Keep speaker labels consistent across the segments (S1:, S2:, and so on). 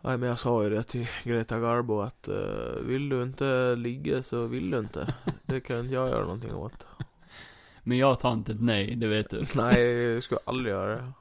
S1: Nej men jag sa ju det till Greta Garbo att eh, vill du inte ligga så vill du inte. Det kan inte jag göra någonting åt.
S2: Men jag tar inte ett nej, det vet du.
S1: Nej, jag skulle aldrig göra det.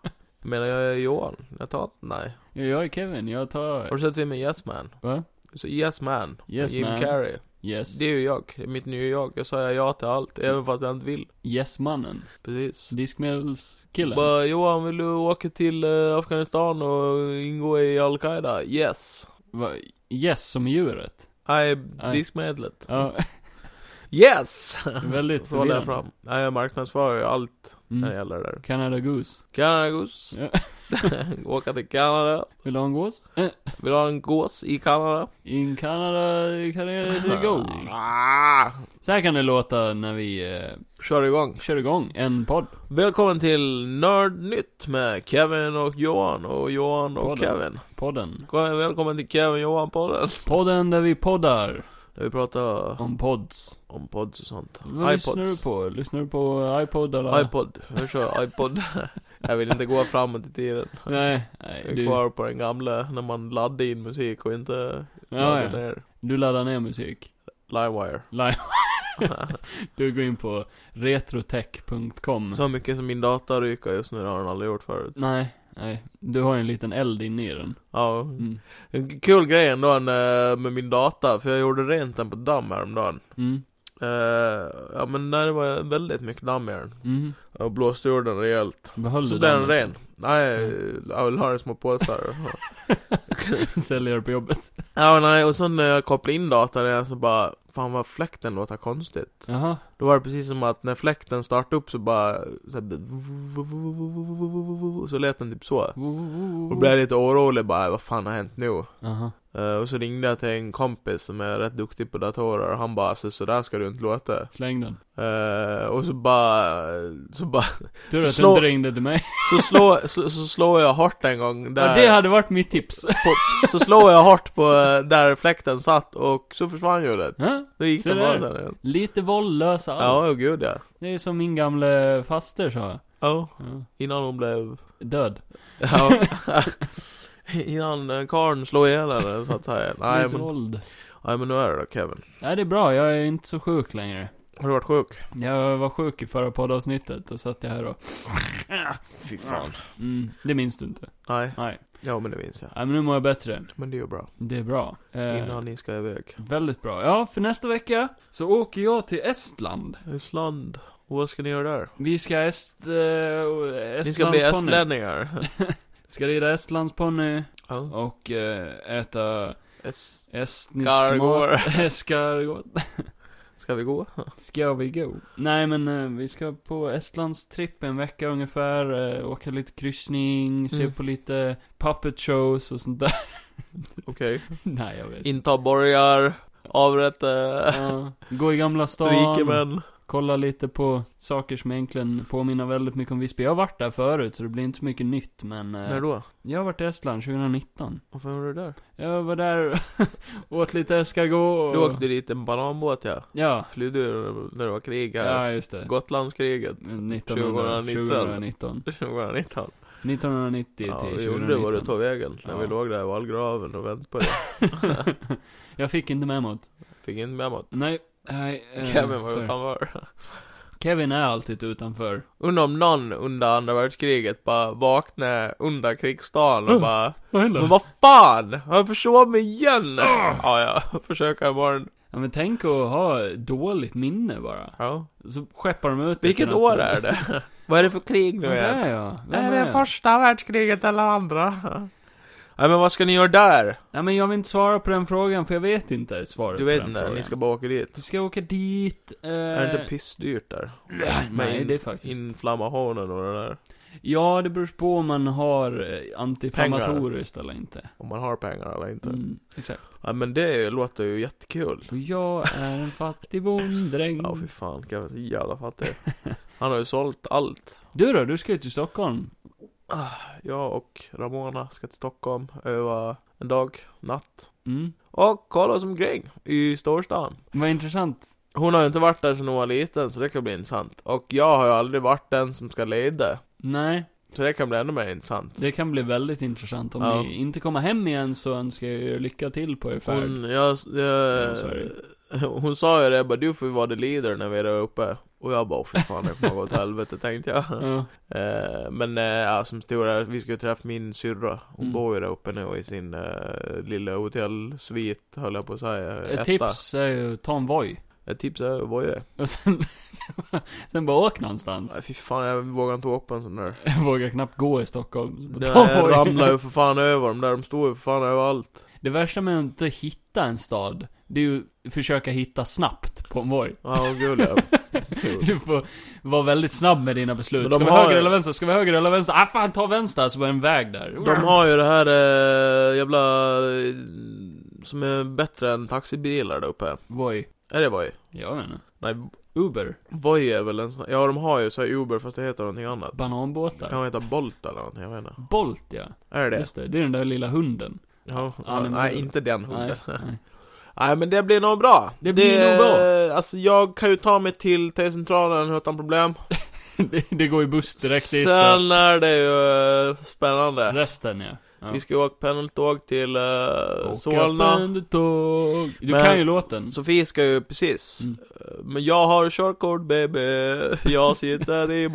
S1: Jag menar jag är Johan, jag tar inte nej.
S2: Ja, Jag är Kevin, jag
S1: Har
S2: tar...
S1: du sett filmen Yes Man?
S2: Va?
S1: Så Yes Man,
S2: Yes
S1: Jim
S2: Man.
S1: Carrey.
S2: Yes.
S1: Det är ju jag, det är mitt nya jag. Jag säger ja till allt, även fast jag inte vill.
S2: Yes-mannen.
S1: Precis.
S2: Diskmedelskillen.
S1: Bara, Johan, vill du åka till eh, Afghanistan och ingå i Al-Qaida? Yes.
S2: Va? Yes, som djuret.
S1: Nej,
S2: Nej.
S1: diskmedlet.
S2: Ja,
S1: Yes!
S2: väldigt
S1: Så håller jag
S2: förvirrande.
S1: fram. Nej, jag marknadsför ju allt när det
S2: Mm.
S1: gäller det där.
S2: Canada Goose.
S1: Kanada gås.
S2: Ja.
S1: Åka till Kanada.
S2: Vill du ha en gås? Eh,
S1: Vill du ha en gås i Kanada?
S2: In Canada, Canada is a goose.
S1: Ah,
S2: Så här kan det låta när vi eh,
S1: kör igång.
S2: kör igång en podd.
S1: Välkommen till Nördnytt med Kevin och Johan och Johan och
S2: Podden.
S1: Kevin.
S2: Podden.
S1: Välkommen till Kevin Johan-podden.
S2: Podden där vi poddar
S1: Där vi pratar
S2: om pods.
S1: om pods och sånt.
S2: Vad lyssnar du på? Lyssnar du på iPod eller?
S1: iPod, jag kör iPod. jag vill inte gå framåt i tiden.
S2: Nej,
S1: Jag
S2: nej.
S1: är
S2: Du,
S1: kvar på den gamla, när man laddade in musik och inte
S2: ja,
S1: laddade
S2: ja.
S1: ner.
S2: du laddar ner musik.
S1: Livewire.
S2: Live. Du går in på retrotech.com.
S1: Så mycket som min data ryker just nu det har den aldrig gjort förut.
S2: Nej, nej. Du har ju en liten eld inne i den.
S1: Ja.
S2: Mm.
S1: En kul grej ändå eh, med min data, för jag gjorde rent den på damm häromdagen.
S2: Mm.
S1: Eh, ja men när det var väldigt mycket damm i den.
S2: Mm.
S1: Jag blåste ur den rejält.
S2: Behöll
S1: Så
S2: du
S1: blev den
S2: dammet?
S1: ren. Nej, jag vill ha den i små påsar.
S2: Säljer på jobbet.
S1: ja nej, och sen när jag kopplade in datan igen så bara, fan vad fläkten låter konstigt.
S2: Jaha.
S1: Då var det precis som att när fläkten startade upp så bara så, här, så lät den typ så. Och då blev jag lite orolig bara, vad fan har hänt nu?
S2: Jaha.
S1: Eh, och så ringde jag till en kompis som är rätt duktig på datorer och han bara, alltså, så där ska du inte låta.
S2: Släng den.
S1: Eh, och så bara, så bara,
S2: Tur att du
S1: Slå-
S2: inte ringde till mig.
S1: så slår så, så slår jag hårt en gång
S2: Ja,
S1: där.
S2: det hade varit mitt tips.
S1: Så slår jag hårt på eh, där fläkten satt och så försvann hjulet.
S2: Hä?
S1: Då gick
S2: Se
S1: den bara
S2: där.
S1: sen igen.
S2: Lite våldlösa allt.
S1: Ja, oh, gud ja.
S2: Det är som min gamle faster sa.
S1: Ja,
S2: Ja.
S1: innan hon blev
S2: Död.
S1: Ja. Innan eh, karln slår ihjäl henne så att säga. Nej
S2: Lite
S1: men,
S2: våld.
S1: nej men nu är det då Kevin.
S2: Nej, det är bra. Jag är inte så sjuk längre.
S1: Har du varit sjuk?
S2: Jag var sjuk i förra poddavsnittet och satt jag här och...
S1: Fy fan.
S2: Mm, det minns du inte.
S1: Nej,
S2: Nej.
S1: ja men det minns jag.
S2: Nej, men nu mår jag bättre.
S1: Men det är ju bra.
S2: Det är bra. Eh,
S1: Innan ni ska iväg.
S2: Väldigt bra. Ja, för nästa vecka så åker jag till Estland.
S1: Estland. Och vad ska ni göra där?
S2: Vi ska est... Eh, Estlandsponny.
S1: Ni ska bli estlänningar.
S2: Ska rida Estlandsponny
S1: ja.
S2: och eh, äta
S1: Es-
S2: estnisk
S1: Skargård.
S2: mat. Eskargård.
S1: ska vi gå?
S2: Ska vi gå? Nej men eh, vi ska på Estlands tripp en vecka ungefär, eh, åka lite kryssning, se
S1: Mm.
S2: på lite puppet shows och sånt där.
S1: Okej.
S2: Nej jag vet inte.
S1: Inta borgar. Avrätta.
S2: Ja, gå i Gamla stan,
S1: Rikemän.
S2: kolla lite på saker som egentligen påminner väldigt mycket om Visby. Jag har varit där förut så det blir inte så mycket nytt men... eh,
S1: När då?
S2: Jag har varit i Estland 2019.
S1: Varför var du där?
S2: Jag var där, åt lite escargot och...
S1: Du åkte dit en bananbåt ja.
S2: Ja,
S1: Flydde du när det var krig här?
S2: ja just det.
S1: Gotlandskriget.
S2: 1900,
S1: 2019.
S2: 2019.
S1: 2019.
S2: 1990
S1: Ja,
S2: till
S1: vi undrade var du
S2: 2019.
S1: tog vägen när
S2: Ja.
S1: vi låg där i vallgraven och väntade på dig.
S2: jag fick inte memot.
S1: Fick inte med mig.
S2: Nej, nej. eh,
S1: Kevin var
S2: sorry.
S1: utanför.
S2: Kevin är alltid utanför.
S1: Undrar om någon under andra världskriget bara vaknade under krigsdagen och bara
S2: Vad
S1: Men vad fan! Har jag försovit mig igen? Ja, ja. Försöka imorgon.
S2: Ja, men tänk att ha dåligt minne bara.
S1: Ja.
S2: Så skeppar de ut
S1: Vilket
S2: lite
S1: år
S2: natt-
S1: är det? vad är det för krig nu
S2: Vad
S1: igen?
S2: är jag? Vem
S1: Är
S2: är
S1: det
S2: jag?
S1: första världskriget eller andra? Nej men vad ska ni göra där?
S2: Nej, men jag vill inte svara på den frågan, för jag vet inte svaret
S1: Du
S2: på
S1: vet
S2: den
S1: inte,
S2: frågan.
S1: ni ska bara åka dit.
S2: Vi ska åka dit, eh...
S1: Är det inte pissdyrt där?
S2: Nej,
S1: in-
S2: det är faktiskt...
S1: Inflammationen och det där.
S2: Ja, det beror på om man har eh, antiinflammatoriskt eller inte.
S1: Om man har pengar eller inte.
S2: Mm, exakt.
S1: Ja men det låter ju jättekul.
S2: Och jag är en fattig bonddräng.
S1: Ja fy fan, kan jag så jävla fattig. Han har ju sålt allt. Ah,
S2: Du då, du ska ju till Stockholm.
S1: Jag och Ramona ska till Stockholm, öva en dag, natt.
S2: Mm.
S1: Och kolla oss omkring i storstan.
S2: Vad intressant.
S1: Hon har ju inte varit där sedan hon var liten så det kan bli intressant. Och jag har ju aldrig varit den som ska leda.
S2: Nej.
S1: Så det kan bli ännu mer intressant.
S2: Det kan bli väldigt intressant. Om
S1: Ja.
S2: ni inte kommer hem igen så önskar jag er lycka till på er färd.
S1: Hon, jag,
S2: Ja,
S1: jag,
S2: sorry.
S1: hon sa ju det, jag bara du får ju vara the leader när vi är där uppe. Och jag bara, "Åh, fy fan det kommer gå åt helvete tänkte jag.
S2: Ja.
S1: Eh, men eh, ja, som stora, vi skulle träffa min syrra. Hon
S2: Mm.
S1: bor ju där uppe nu i sin eh, lilla hotellsvit, höll jag på att säga.
S2: Ett
S1: Etta.
S2: tips är ju, ta en Voi.
S1: Ett tips är att voja.
S2: Och sen, sen, sen bara åk någonstans.
S1: Nej fy fan, jag vågar inte åka på en sån där.
S2: Jag vågar knappt gå i Stockholm. så bara ta
S1: Jag
S2: Voi.
S1: ramlar ju för fan över dem där, de står ju för fan överallt.
S2: Det värsta med att inte hitta en stad, det är ju att försöka hitta snabbt på en Voi.
S1: Ja, vad gul jag är. Kul.
S2: Du får vara väldigt snabb med dina beslut.
S1: Men de
S2: Ska vi
S1: har-
S2: höger eller vänster? Ska vi höger eller vänster? Ah fan, ta vänster, så var det en väg där.
S1: De har ju det här eh, jävla... eh, Som är bättre än taxibilar där uppe.
S2: Voi.
S1: Är det Voi?
S2: Jag vet inte.
S1: Nej,
S2: Uber.
S1: Voi är väl en sån... Ja, de har ju så här Uber fast det heter någonting annat.
S2: Bananbåtar.
S1: Kan man heta Bolt eller någonting? Jag vet inte.
S2: Bolt ja.
S1: Är det det?
S2: Just det, det är den där lilla hunden.
S1: Ja,
S2: Ja, men-
S1: nej, inte den hunden.
S2: Nej,
S1: Nej.
S2: nej.
S1: men det blir nog bra.
S2: Det blir nog bra.
S1: Alltså, jag kan ju ta mig till T-centralen utan problem.
S2: Det, det går ju buss direkt dit så.
S1: Sen är det ju eh, spännande.
S2: Resten ja. ja.
S1: Vi ska åka pendeltåg till uh,
S2: Åka
S1: Solna.
S2: pendeltåg. Du
S1: Men-
S2: kan ju låten.
S1: Sofie ska ju precis. Eh,
S2: Mm.
S1: Men jag har körkort baby, jag sitter i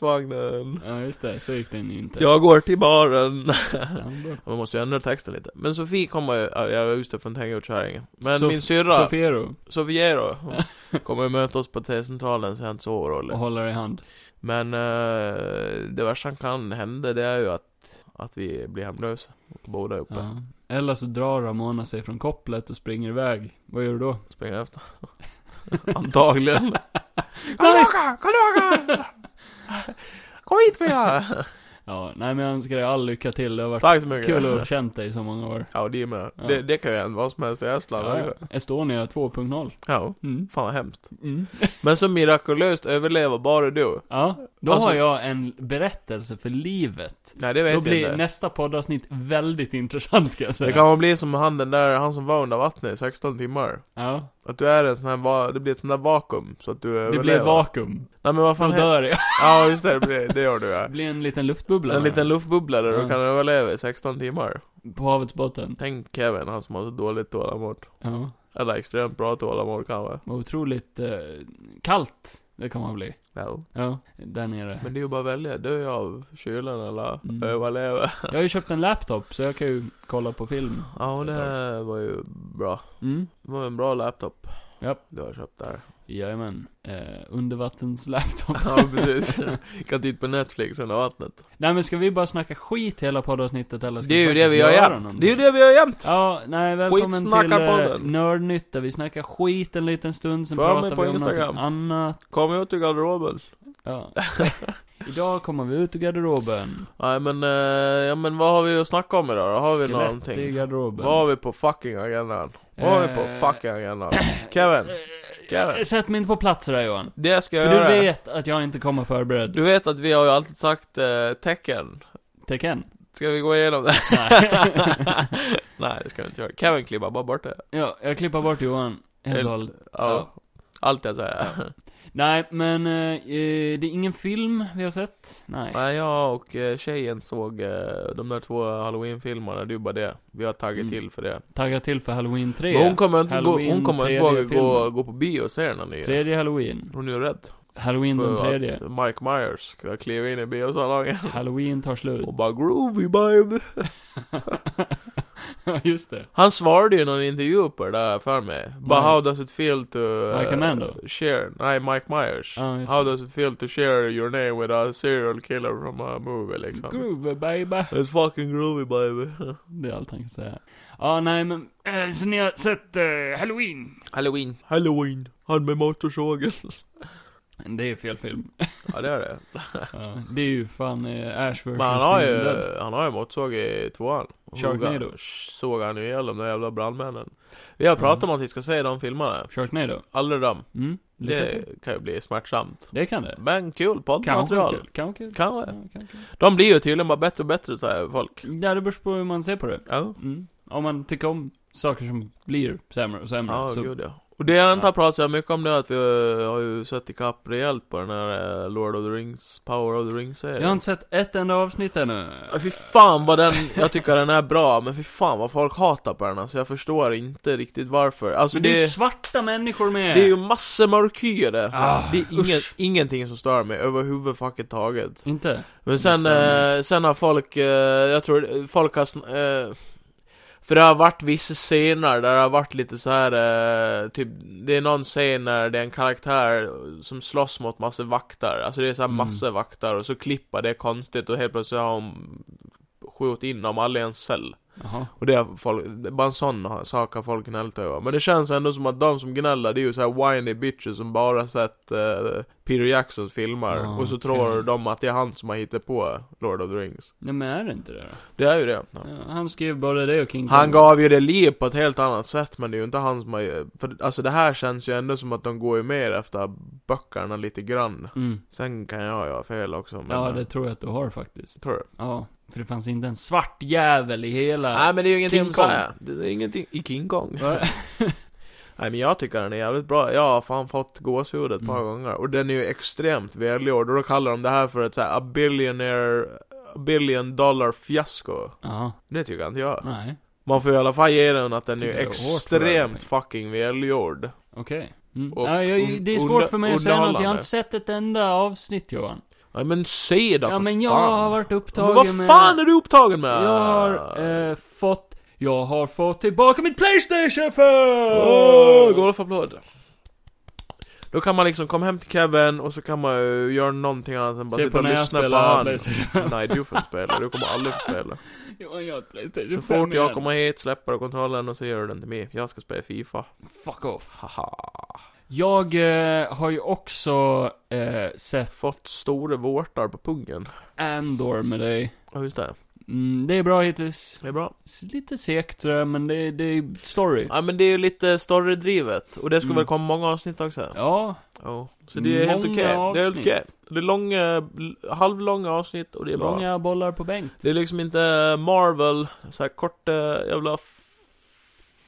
S1: boskapsvagnen.
S2: Ja just det, så gick den ju inte.
S1: Jag går till baren.
S2: Ändå.
S1: Man måste ju ändra texten lite. Men Sofie kommer ju, ja, jag är ute från Tengutskärringen. Men
S2: Sof-
S1: min syrra,
S2: Sofiero,
S1: Sofiero, kommer ju möta oss på T-centralen så jag är inte så orolig.
S2: och håller i hand.
S1: Men eh, det värsta som kan hända det är ju att, att vi blir hemlösa. Båda uppe.
S2: Ja. Eller så drar Ramona sig från kopplet och springer iväg. Vad gör du då?
S1: Springer efter. Antagligen.
S2: Nej.
S1: tillbaka, kom tillbaka! Kom hit Frida!
S2: Ja, nej men jag önskar dig all lycka till. Det har varit
S1: Tack så mycket.
S2: kul att ha känt dig i så många år.
S1: Ja, det är med.
S2: Ja.
S1: Det, det kan ju hända vad som helst i Estland.
S2: Ja,
S1: Ja.
S2: ja. Estonia 2.0.
S1: ja.
S2: Mm.
S1: Fan vad hemskt.
S2: Mm.
S1: Men så mirakulöst överlever bara du.
S2: Ja, då
S1: Alltså-
S2: har jag en berättelse för livet.
S1: Nej, det vet
S2: Då
S1: jag
S2: blir
S1: inte.
S2: nästa poddavsnitt väldigt intressant kan jag säga.
S1: Det kan man bli som han den där, han som var under vattnet i 16 timmar.
S2: Ja,
S1: Att du är en sån här, va- det blir ett sånt där vakuum. Så att du
S2: det
S1: överlever.
S2: blir ett vakuum.
S1: Nej men vad
S2: Då
S1: fan he-
S2: dör jag.
S1: Ja just det, det, blir, det gör du
S2: Det
S1: ja.
S2: blir en liten luftbubbla.
S1: En liten luftbubbla där
S2: Ja.
S1: du kan överleva i 16 timmar.
S2: På havets botten.
S1: Tänk Kevin, han som har så dåligt tålamod.
S2: Ja.
S1: Eller extremt bra tålamod kanske.
S2: Vad otroligt eh, kallt det kan man bli.
S1: No.
S2: Ja, där nere.
S1: Men det är ju bara att välja, dö av kylan eller
S2: Mm.
S1: överleva.
S2: Jag har ju köpt en laptop, så jag kan ju kolla på film.
S1: Ja, och
S2: ett tag.
S1: det var ju bra.
S2: Mm.
S1: Det var en bra laptop.
S2: Japp.
S1: Du har köpt där.
S2: Jajamän. Eh, undervattenslaptop.
S1: Ja, precis. kan titta på Netflix under vattnet.
S2: nej men ska vi bara snacka skit hela poddavsnittet eller ska
S1: Det är ju
S2: faktiskt
S1: det vi gör
S2: göra
S1: jämt.
S2: någonting?
S1: Det är ju det vi gör jämt.
S2: Ja, nej välkommen till eh,
S1: Skitsnackarpodden.
S2: Nördnytt där vi snackar skit en liten stund, sen
S1: Följ mig
S2: pratar
S1: på
S2: vi om
S1: Instagram.
S2: något annat.
S1: Kom ut ur garderoben.
S2: Ja. Idag kommer vi ut ur garderoben.
S1: Nej men, eh, ja men vad har vi att snacka om idag då? Har vi
S2: Skelett i
S1: någonting?
S2: garderoben.
S1: Vad har vi på fucking agendan? Vad har vi på
S2: Eh,
S1: fucking agendan? Kevin, Kevin.
S2: Sätt mig inte på plats där Johan.
S1: det ska jag
S2: För du
S1: göra.
S2: vet att jag inte kommer förberedd.
S1: du vet att vi har ju alltid sagt eh, tecken.
S2: Tecken.
S1: Ska vi gå igenom det?
S2: Nej.
S1: Nej det ska vi inte göra. Kevin klibbar bara bort det.
S2: ja, jag klippar bort Johan. Helt
S1: Helt-
S2: och hållet.
S1: Ja. Allt jag säger.
S2: Nej, men eh, eh, det är ingen film vi har sett. Nej.
S1: Nej, jag och eh, tjejen såg eh, de där två halloween-filmerna, det är ju bara det. Vi har tagit
S2: Mm.
S1: till för det.
S2: Tagga till för Halloween 3.
S1: Men hon kommer inte gå,
S2: Halloween,
S1: hon kommer inte våga
S2: tredje
S1: gå,
S2: filmen.
S1: gå på bio och se den här nya.
S2: Tredje Halloween.
S1: Hon är ju rädd
S2: Halloween den
S1: för
S2: tredje.
S1: att Mike Myers ska kliva in i biosalongen
S2: Halloween tar slut.
S1: och bara 'Groovy babe'
S2: Ja, just det.
S1: Han svarade ju i någon intervju på det där för mig. Bara
S2: Nej.
S1: 'How does it feel to... eh,
S2: Mike Amando?
S1: Share... Nej, Mike Myers.
S2: Ja, just
S1: How
S2: det.
S1: does it feel to share your name with a serial killer from a movie liksom?
S2: Groove baby.
S1: It's fucking groovy baby.
S2: Det är allt han kan säga. Ja, nej men. eh, Så ni har sett eh, Halloween?
S1: Halloween. Halloween. Han med motorsågen.
S2: Det är fel film.
S1: Ja det är det.
S2: Ja, det är ju fan eh, Ash vs.
S1: Men han har ju,
S2: Dead.
S1: han har ju motorsåg i tvåan. Och
S2: Sharknado.
S1: hugga- Såg han ju ihjäl de där jävla brandmännen. Vi har pratat om att vi ska se de filmerna.
S2: Sharknado.
S1: Aldrig dem.
S2: Mm. Lycka
S1: Det
S2: till.
S1: kan ju bli smärtsamt.
S2: Det kan det.
S1: Men kul
S2: Kanske
S1: poddmaterial.
S2: kul. Kanske kul.
S1: Kan
S2: Ja,
S1: det.
S2: kanske.
S1: De blir ju tydligen bara bättre och bättre säger folk.
S2: Ja, det beror på hur man ser på det.
S1: Ja.
S2: Mm. Om man tycker om saker som blir sämre och sämre.
S1: Ja,
S2: så
S1: gud ja. Och det jag inte
S2: Ja.
S1: har pratat så mycket om det är att vi eh, har ju sett ikapp rejält på den här eh, Lord of the Rings, Power of the Rings-serien.
S2: Jag har inte sett ett enda avsnitt ännu.
S1: Ja, Fy fan vad den, jag tycker den är bra, men fy fan vad folk hatar på den alltså, jag förstår inte riktigt varför. Alltså
S2: Men det är ju
S1: det,
S2: svarta människor med!
S1: det är ju massor mörkhyade. det.
S2: Ah,
S1: det är ingen,
S2: usch.
S1: ingenting som stör mig överhuvudfucking taget.
S2: Inte?
S1: Men sen,
S2: stämmer.
S1: eh, sen har folk, eh, jag tror folk har sn- eh, För det har varit vissa scener där det har varit lite så här eh, typ Det är någon scen där det är en karaktär som slåss mot massor vaktar Alltså det är så här
S2: Mm.
S1: massor vaktar och så klippa det är konstigt och helt plötsligt har hon skjutit in dem alla i en cell
S2: Jaha.
S1: Och det har folk, det är bara en sån ha- sak har folk gnällt över Men det känns ändå som att de som gnäller det är ju så här whiny bitches som bara sett eh, Peter Jacksons filmer
S2: Ja,
S1: Och så
S2: okej.
S1: tror de att det är han som har hittat på Lord of the Rings
S2: Nej men är det inte det då?
S1: Det är ju det ja.
S2: Ja, han skrev både det och King
S1: Han
S2: Kong.
S1: gav ju det liv på ett helt annat sätt men det är ju inte han som har för, Alltså det här känns ju ändå som att de går ju mer efter böckerna lite grann
S2: Mm.
S1: Sen kan jag göra fel också men eh,
S2: Ja, det tror jag att du har faktiskt.
S1: Tror du?
S2: Ja. För det fanns inte en svart jävel i hela...
S1: Nej men det är ju ingenting
S2: King
S1: att säga Det är ingenting i King Kong
S2: Va?
S1: Nej men jag tycker den är jävligt bra, jag har fan fått gåshud ett par
S2: Mm.
S1: gånger Och den är ju extremt välgjord, och då kallar de det här för ett såhär a billionaire, a billion dollar fiasko
S2: Ja.
S1: Det tycker jag inte jag
S2: Nej.
S1: Man får i alla fall ge den att den är ju
S2: Tycker det är hårt för
S1: extremt fucking välgjord
S2: Okej. Mm.
S1: Och
S2: Ja, jag,
S1: un-
S2: det är
S1: under-
S2: svårt för mig att säga något. Jag har
S1: underhållande.
S2: inte sett ett enda avsnitt Johan.
S1: Nej men se då
S2: Ja,
S1: för
S2: men jag
S1: fan.
S2: har varit
S1: men
S2: upptagen
S1: vad fan
S2: med...
S1: är du upptagen med?
S2: Jag har eh, fått... Jag har fått tillbaka mitt Playstation för...
S1: Åh, golfapplåd. Då kan man liksom komma hem till Kevin och så kan man ju göra någonting annat än bara
S2: Se
S1: sitta
S2: på
S1: och
S2: när jag
S1: lyssna på
S2: spelar
S1: han.
S2: Playstation.
S1: Nej du får inte spela, du kommer aldrig få spela.
S2: Johan, jag har ett Playstation
S1: Så
S2: 5
S1: fort jag
S2: igen.
S1: kommer hit släpper du kontrollen och så ger du den till mig. Jag ska spela FIFA.
S2: Fuck off.
S1: Haha.
S2: Jag eh, har ju också eh, sett
S1: Fått stora vårtar på pungen.
S2: Andor med dig.
S1: Ja just det,
S2: Mm, det är bra hittills.
S1: det är bra.
S2: S- Lite segt tror jag, men det, det är story.
S1: Ja men det är ju lite större drivet. Och det ska
S2: Mm.
S1: väl komma många avsnitt också?
S2: Ja,
S1: Ja. Så det är helt
S2: Många
S1: okej. Det är helt
S2: avsnitt.
S1: okej. Det är långa, l- halvlånga avsnitt och det är bra.
S2: långa bollar på bänk.
S1: Det är liksom inte Marvel, så här korta jävla f-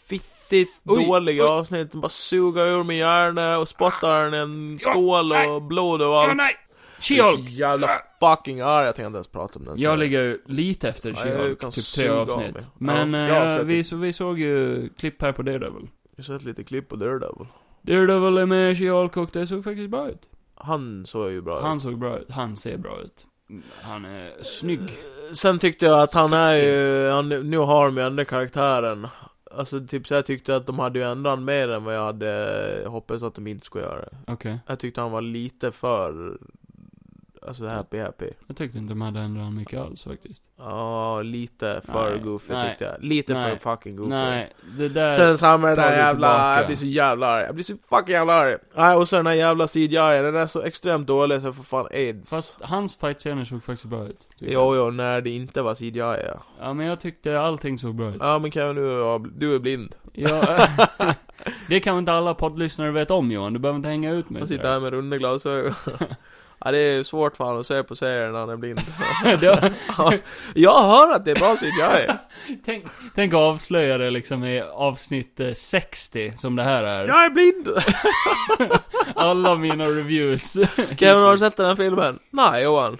S1: fittigt
S2: Oj,
S1: dåliga
S2: oj.
S1: avsnitt. De bara suga ur min hjärna och spottar den i en
S2: Ja,
S1: skål
S2: nej.
S1: och blod och
S2: Ja,
S1: allt.
S2: Ah, nej!
S1: Jag är
S2: She-Hulk!
S1: så jävla fucking arg, jag tänker inte ens prata om den.
S2: Jag ligger ju lite efter
S1: Ja,
S2: She-Hulk,
S1: jag kan
S2: typ tre
S1: suga av
S2: avsnitt.
S1: mig.
S2: Men
S1: Ja,
S2: eh,
S1: jag har sett
S2: vi, så, vi såg ju klipp här på Daredevil.
S1: Jag har sett lite klipp på Daredevil.
S2: Daredevil är med She-Hulk och det såg faktiskt bra ut.
S1: Han såg ju bra
S2: Han
S1: ut.
S2: såg bra ut, han ser bra ut. Han är snygg.
S1: Eh, Sen tyckte jag att han är
S2: Sexy.
S1: ju, han, nu har de ju ändrat karaktären. Alltså typ så jag tyckte att de hade ju ändrat han mer än vad jag hade eh, hoppats att de inte skulle göra.
S2: Okej.
S1: Jag tyckte han var lite för, alltså happy happy.
S2: Jag tyckte inte de hade ändrat han mycket alls faktiskt.
S1: Ja, lite för
S2: Nej,
S1: goofy
S2: nej,
S1: tyckte jag. Lite
S2: nej,
S1: för fucking goofy.
S2: Nej, det där...
S1: Sen så här med den
S2: tar
S1: där
S2: vi
S1: jävla,
S2: tillbaka.
S1: jag blir så jävla arg. Jag blir så fucking jävla arg. Nej, och så den här jävla CGI, den är så extremt dålig så jag får fan aids.
S2: Fast hans fightscener såg faktiskt bra ut. tyckte
S1: Jo, jo, när det inte var CGI ja.
S2: jag. Ja, men jag tyckte allting såg bra ut.
S1: Ja men Kevin, du, är- du är blind.
S2: Ja, det kan väl inte alla poddlyssnare veta om Johan, du behöver inte hänga ut mig.
S1: Han sitter här med runda glasögon. Ja det är svårt för honom att se på serien när han är blind.
S2: Det var-
S1: Ja, jag hör att det är bra CGI.
S2: tänk, tänk att avslöja det liksom i avsnitt eh, 60, som det här är.
S1: Jag är blind!
S2: Alla mina reviews.
S1: Kevin, har du sett den här filmen? Nej Johan.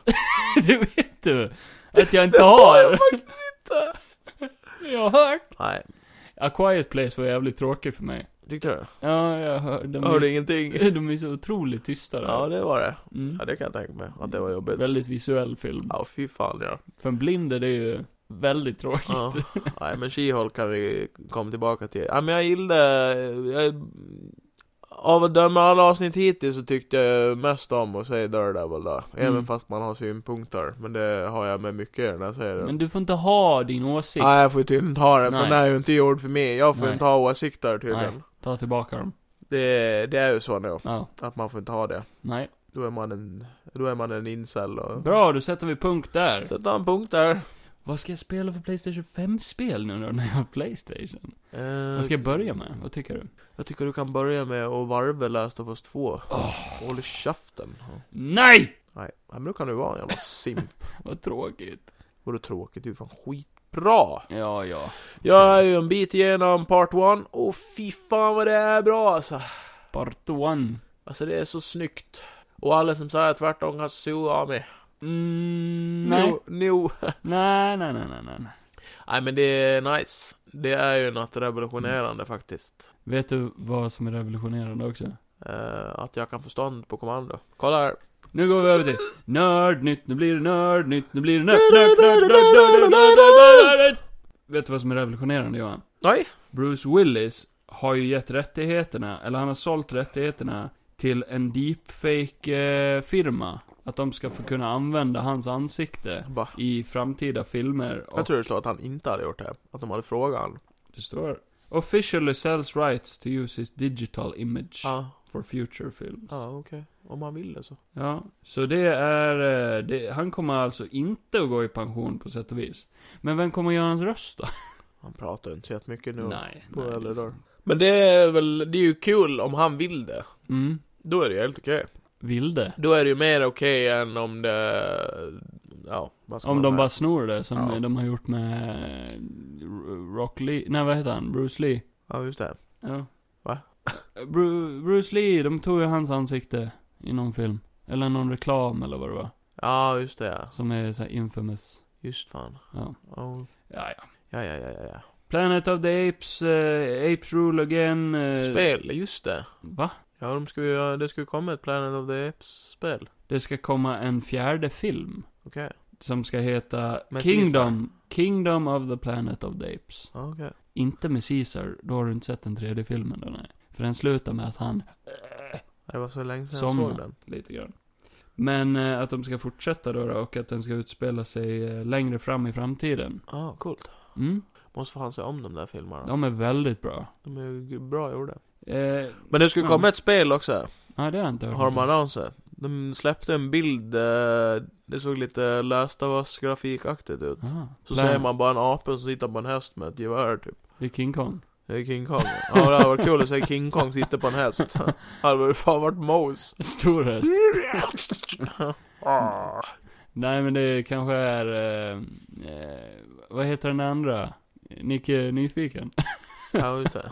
S2: det vet du. Att jag inte
S1: har jag
S2: har. Jag har hört.
S1: Nej,
S2: A Quiet Place var jävligt tråkig för mig.
S1: tyckte du?
S2: Ja, jag hörde. De,
S1: Hörde ingenting?
S2: är, de är så otroligt tysta där.
S1: Ja det var det.
S2: Mm.
S1: Ja det kan jag tänka mig, att det var jobbigt.
S2: Väldigt visuell film.
S1: Ja fy fan ja.
S2: För en blind är det ju väldigt tråkigt.
S1: ja. Nej men She-Hulk kan vi komma tillbaka till. Ja men jag gillade, jag, av att döma alla avsnitt hittills så tyckte jag mest om att säga Daredevil då. Även
S2: Mm.
S1: fast man har synpunkter. Men det har jag med mycket i den här serien.
S2: Men du får inte ha din åsikt.
S1: Nej jag får ju tydligen inte ha den, för
S2: Nej.
S1: den är ju inte gjord för mig. Jag får ju
S2: Nej.
S1: inte ha åsikter tydligen.
S2: Nej. Ta tillbaka dem.
S1: Det, det är ju så nu,
S2: Ja.
S1: att man får inte ha det.
S2: Nej.
S1: Då är man en, då är man en incel och...
S2: Bra, då sätter vi punkt där.
S1: Sätta en punkt där.
S2: Vad ska jag spela för Playstation 5-spel nu då, när jag har Playstation?
S1: Eh,
S2: Vad ska jag börja med? Vad tycker du?
S1: Jag tycker du kan börja med att varva Last of Us 2. Håll käften.
S2: Nej!
S1: Nej, men då kan du vara en jävla simp.
S2: Vad tråkigt.
S1: Vore tråkigt, det är ju fan skitbra!
S2: Ja, ja.
S1: Jag är ju en bit igenom Part 1, och fy fan vad det är bra alltså!
S2: Part one.
S1: Alltså det är så snyggt. Och alla som säger tvärtom kan sua av mig.
S2: Mm, nej.
S1: No, no.
S2: nej. Nej, nej, nej, nej, nej.
S1: Nej men det är nice. Det är ju något revolutionerande faktiskt.
S2: Vet du vad som är revolutionerande också?
S1: Eh, att jag kan få stånd på kommando. Kolla här.
S2: Nu går vi över till nördnytt, nu blir det nördnytt, nu blir det nörd, nörd, nörd, nörd, nörd, nörd, nörd, nörd, nörd. Vet du vad som är revolutionerande Johan?
S1: Nej!
S2: Bruce Willis har ju gett rättigheterna, eller han har sålt rättigheterna till en deepfake-firma. Att de ska få kunna använda hans ansikte
S1: Va?
S2: i framtida filmer.
S1: Jag
S2: Och
S1: tror det slår att han inte hade gjort det. Att de hade frågat han.
S2: det står Officially sells rights to use his digital image
S1: Ja,
S2: for future films.
S1: ja okej. Om han ville så.
S2: Ja, så det är... eh, Det, han kommer alltså inte att gå i pension på sätt och vis. Men vem kommer göra hans röst då?
S1: Han pratar ju inte så jättemycket nu.
S2: nej,
S1: på
S2: nej.
S1: äldre
S2: liksom.
S1: dagar. Men det är väl, det är ju kul om han vill det.
S2: Mm,
S1: Då är det ju helt okej.
S2: vilde.
S1: Då är det ju mer okej än om det... Ja, vad ska
S2: Om
S1: man
S2: de
S1: säga?
S2: bara snor det som
S1: Ja.
S2: de har gjort med eh, Rock Lee, nej vad heter han? Bruce Lee?
S1: Ja, just det.
S2: Ja.
S1: Va?
S2: Bru, Bruce Lee, de tog ju hans ansikte i någon film. Eller någon reklam eller vad det var.
S1: Ja, just det ja.
S2: Som är så här infamous.
S1: Just fan.
S2: Ja.
S1: Oh.
S2: Ja, ja.
S1: Ja, ja, ja, ja, ja.
S2: Planet of the Apes, eh, Apes Rule Again. eh,
S1: Spel, just det.
S2: Va?
S1: Ja, de ska ju, göra- det ska ju komma ett Planet of the Apes-spel.
S2: Det ska komma en fjärde film.
S1: Okej.
S2: Som ska heta
S1: Med
S2: Kingdom. Kingdom of the Planet of the Apes.
S1: Ja, okej.
S2: Inte med Caesar, då har du inte sett den tredje filmen då nej. För den slutar med att han...
S1: Det var så länge sedan
S2: Somna.
S1: jag såg den.
S2: Lite grann. Men eh, att de ska fortsätta då, då och att den ska utspela sig eh, längre fram i framtiden.
S1: Ja, ah, coolt.
S2: Mm,
S1: Måste fan se om de där filmerna.
S2: de är väldigt bra.
S1: De är ju bra gjorda.
S2: Eh,
S1: Men det skulle
S2: Ja.
S1: komma ett spel också.
S2: nej, det har jag inte hört.
S1: Har de
S2: om.
S1: annonser? De släppte en bild, eh, det såg lite Last of Us grafikaktigt ut.
S2: Ah,
S1: Så
S2: Plan-
S1: ser man bara en apa och så sitter på en häst med ett gevär typ.
S2: Det är King Kong.
S1: Det är King Kong. Ja det hade varit kul att se King Kong sitta på en häst. Hade väl fan varit Mose.
S2: En stor häst. Nej men det kanske är... Eh, eh, vad heter den andra? Nicke Nyfiken.
S1: Ja just det.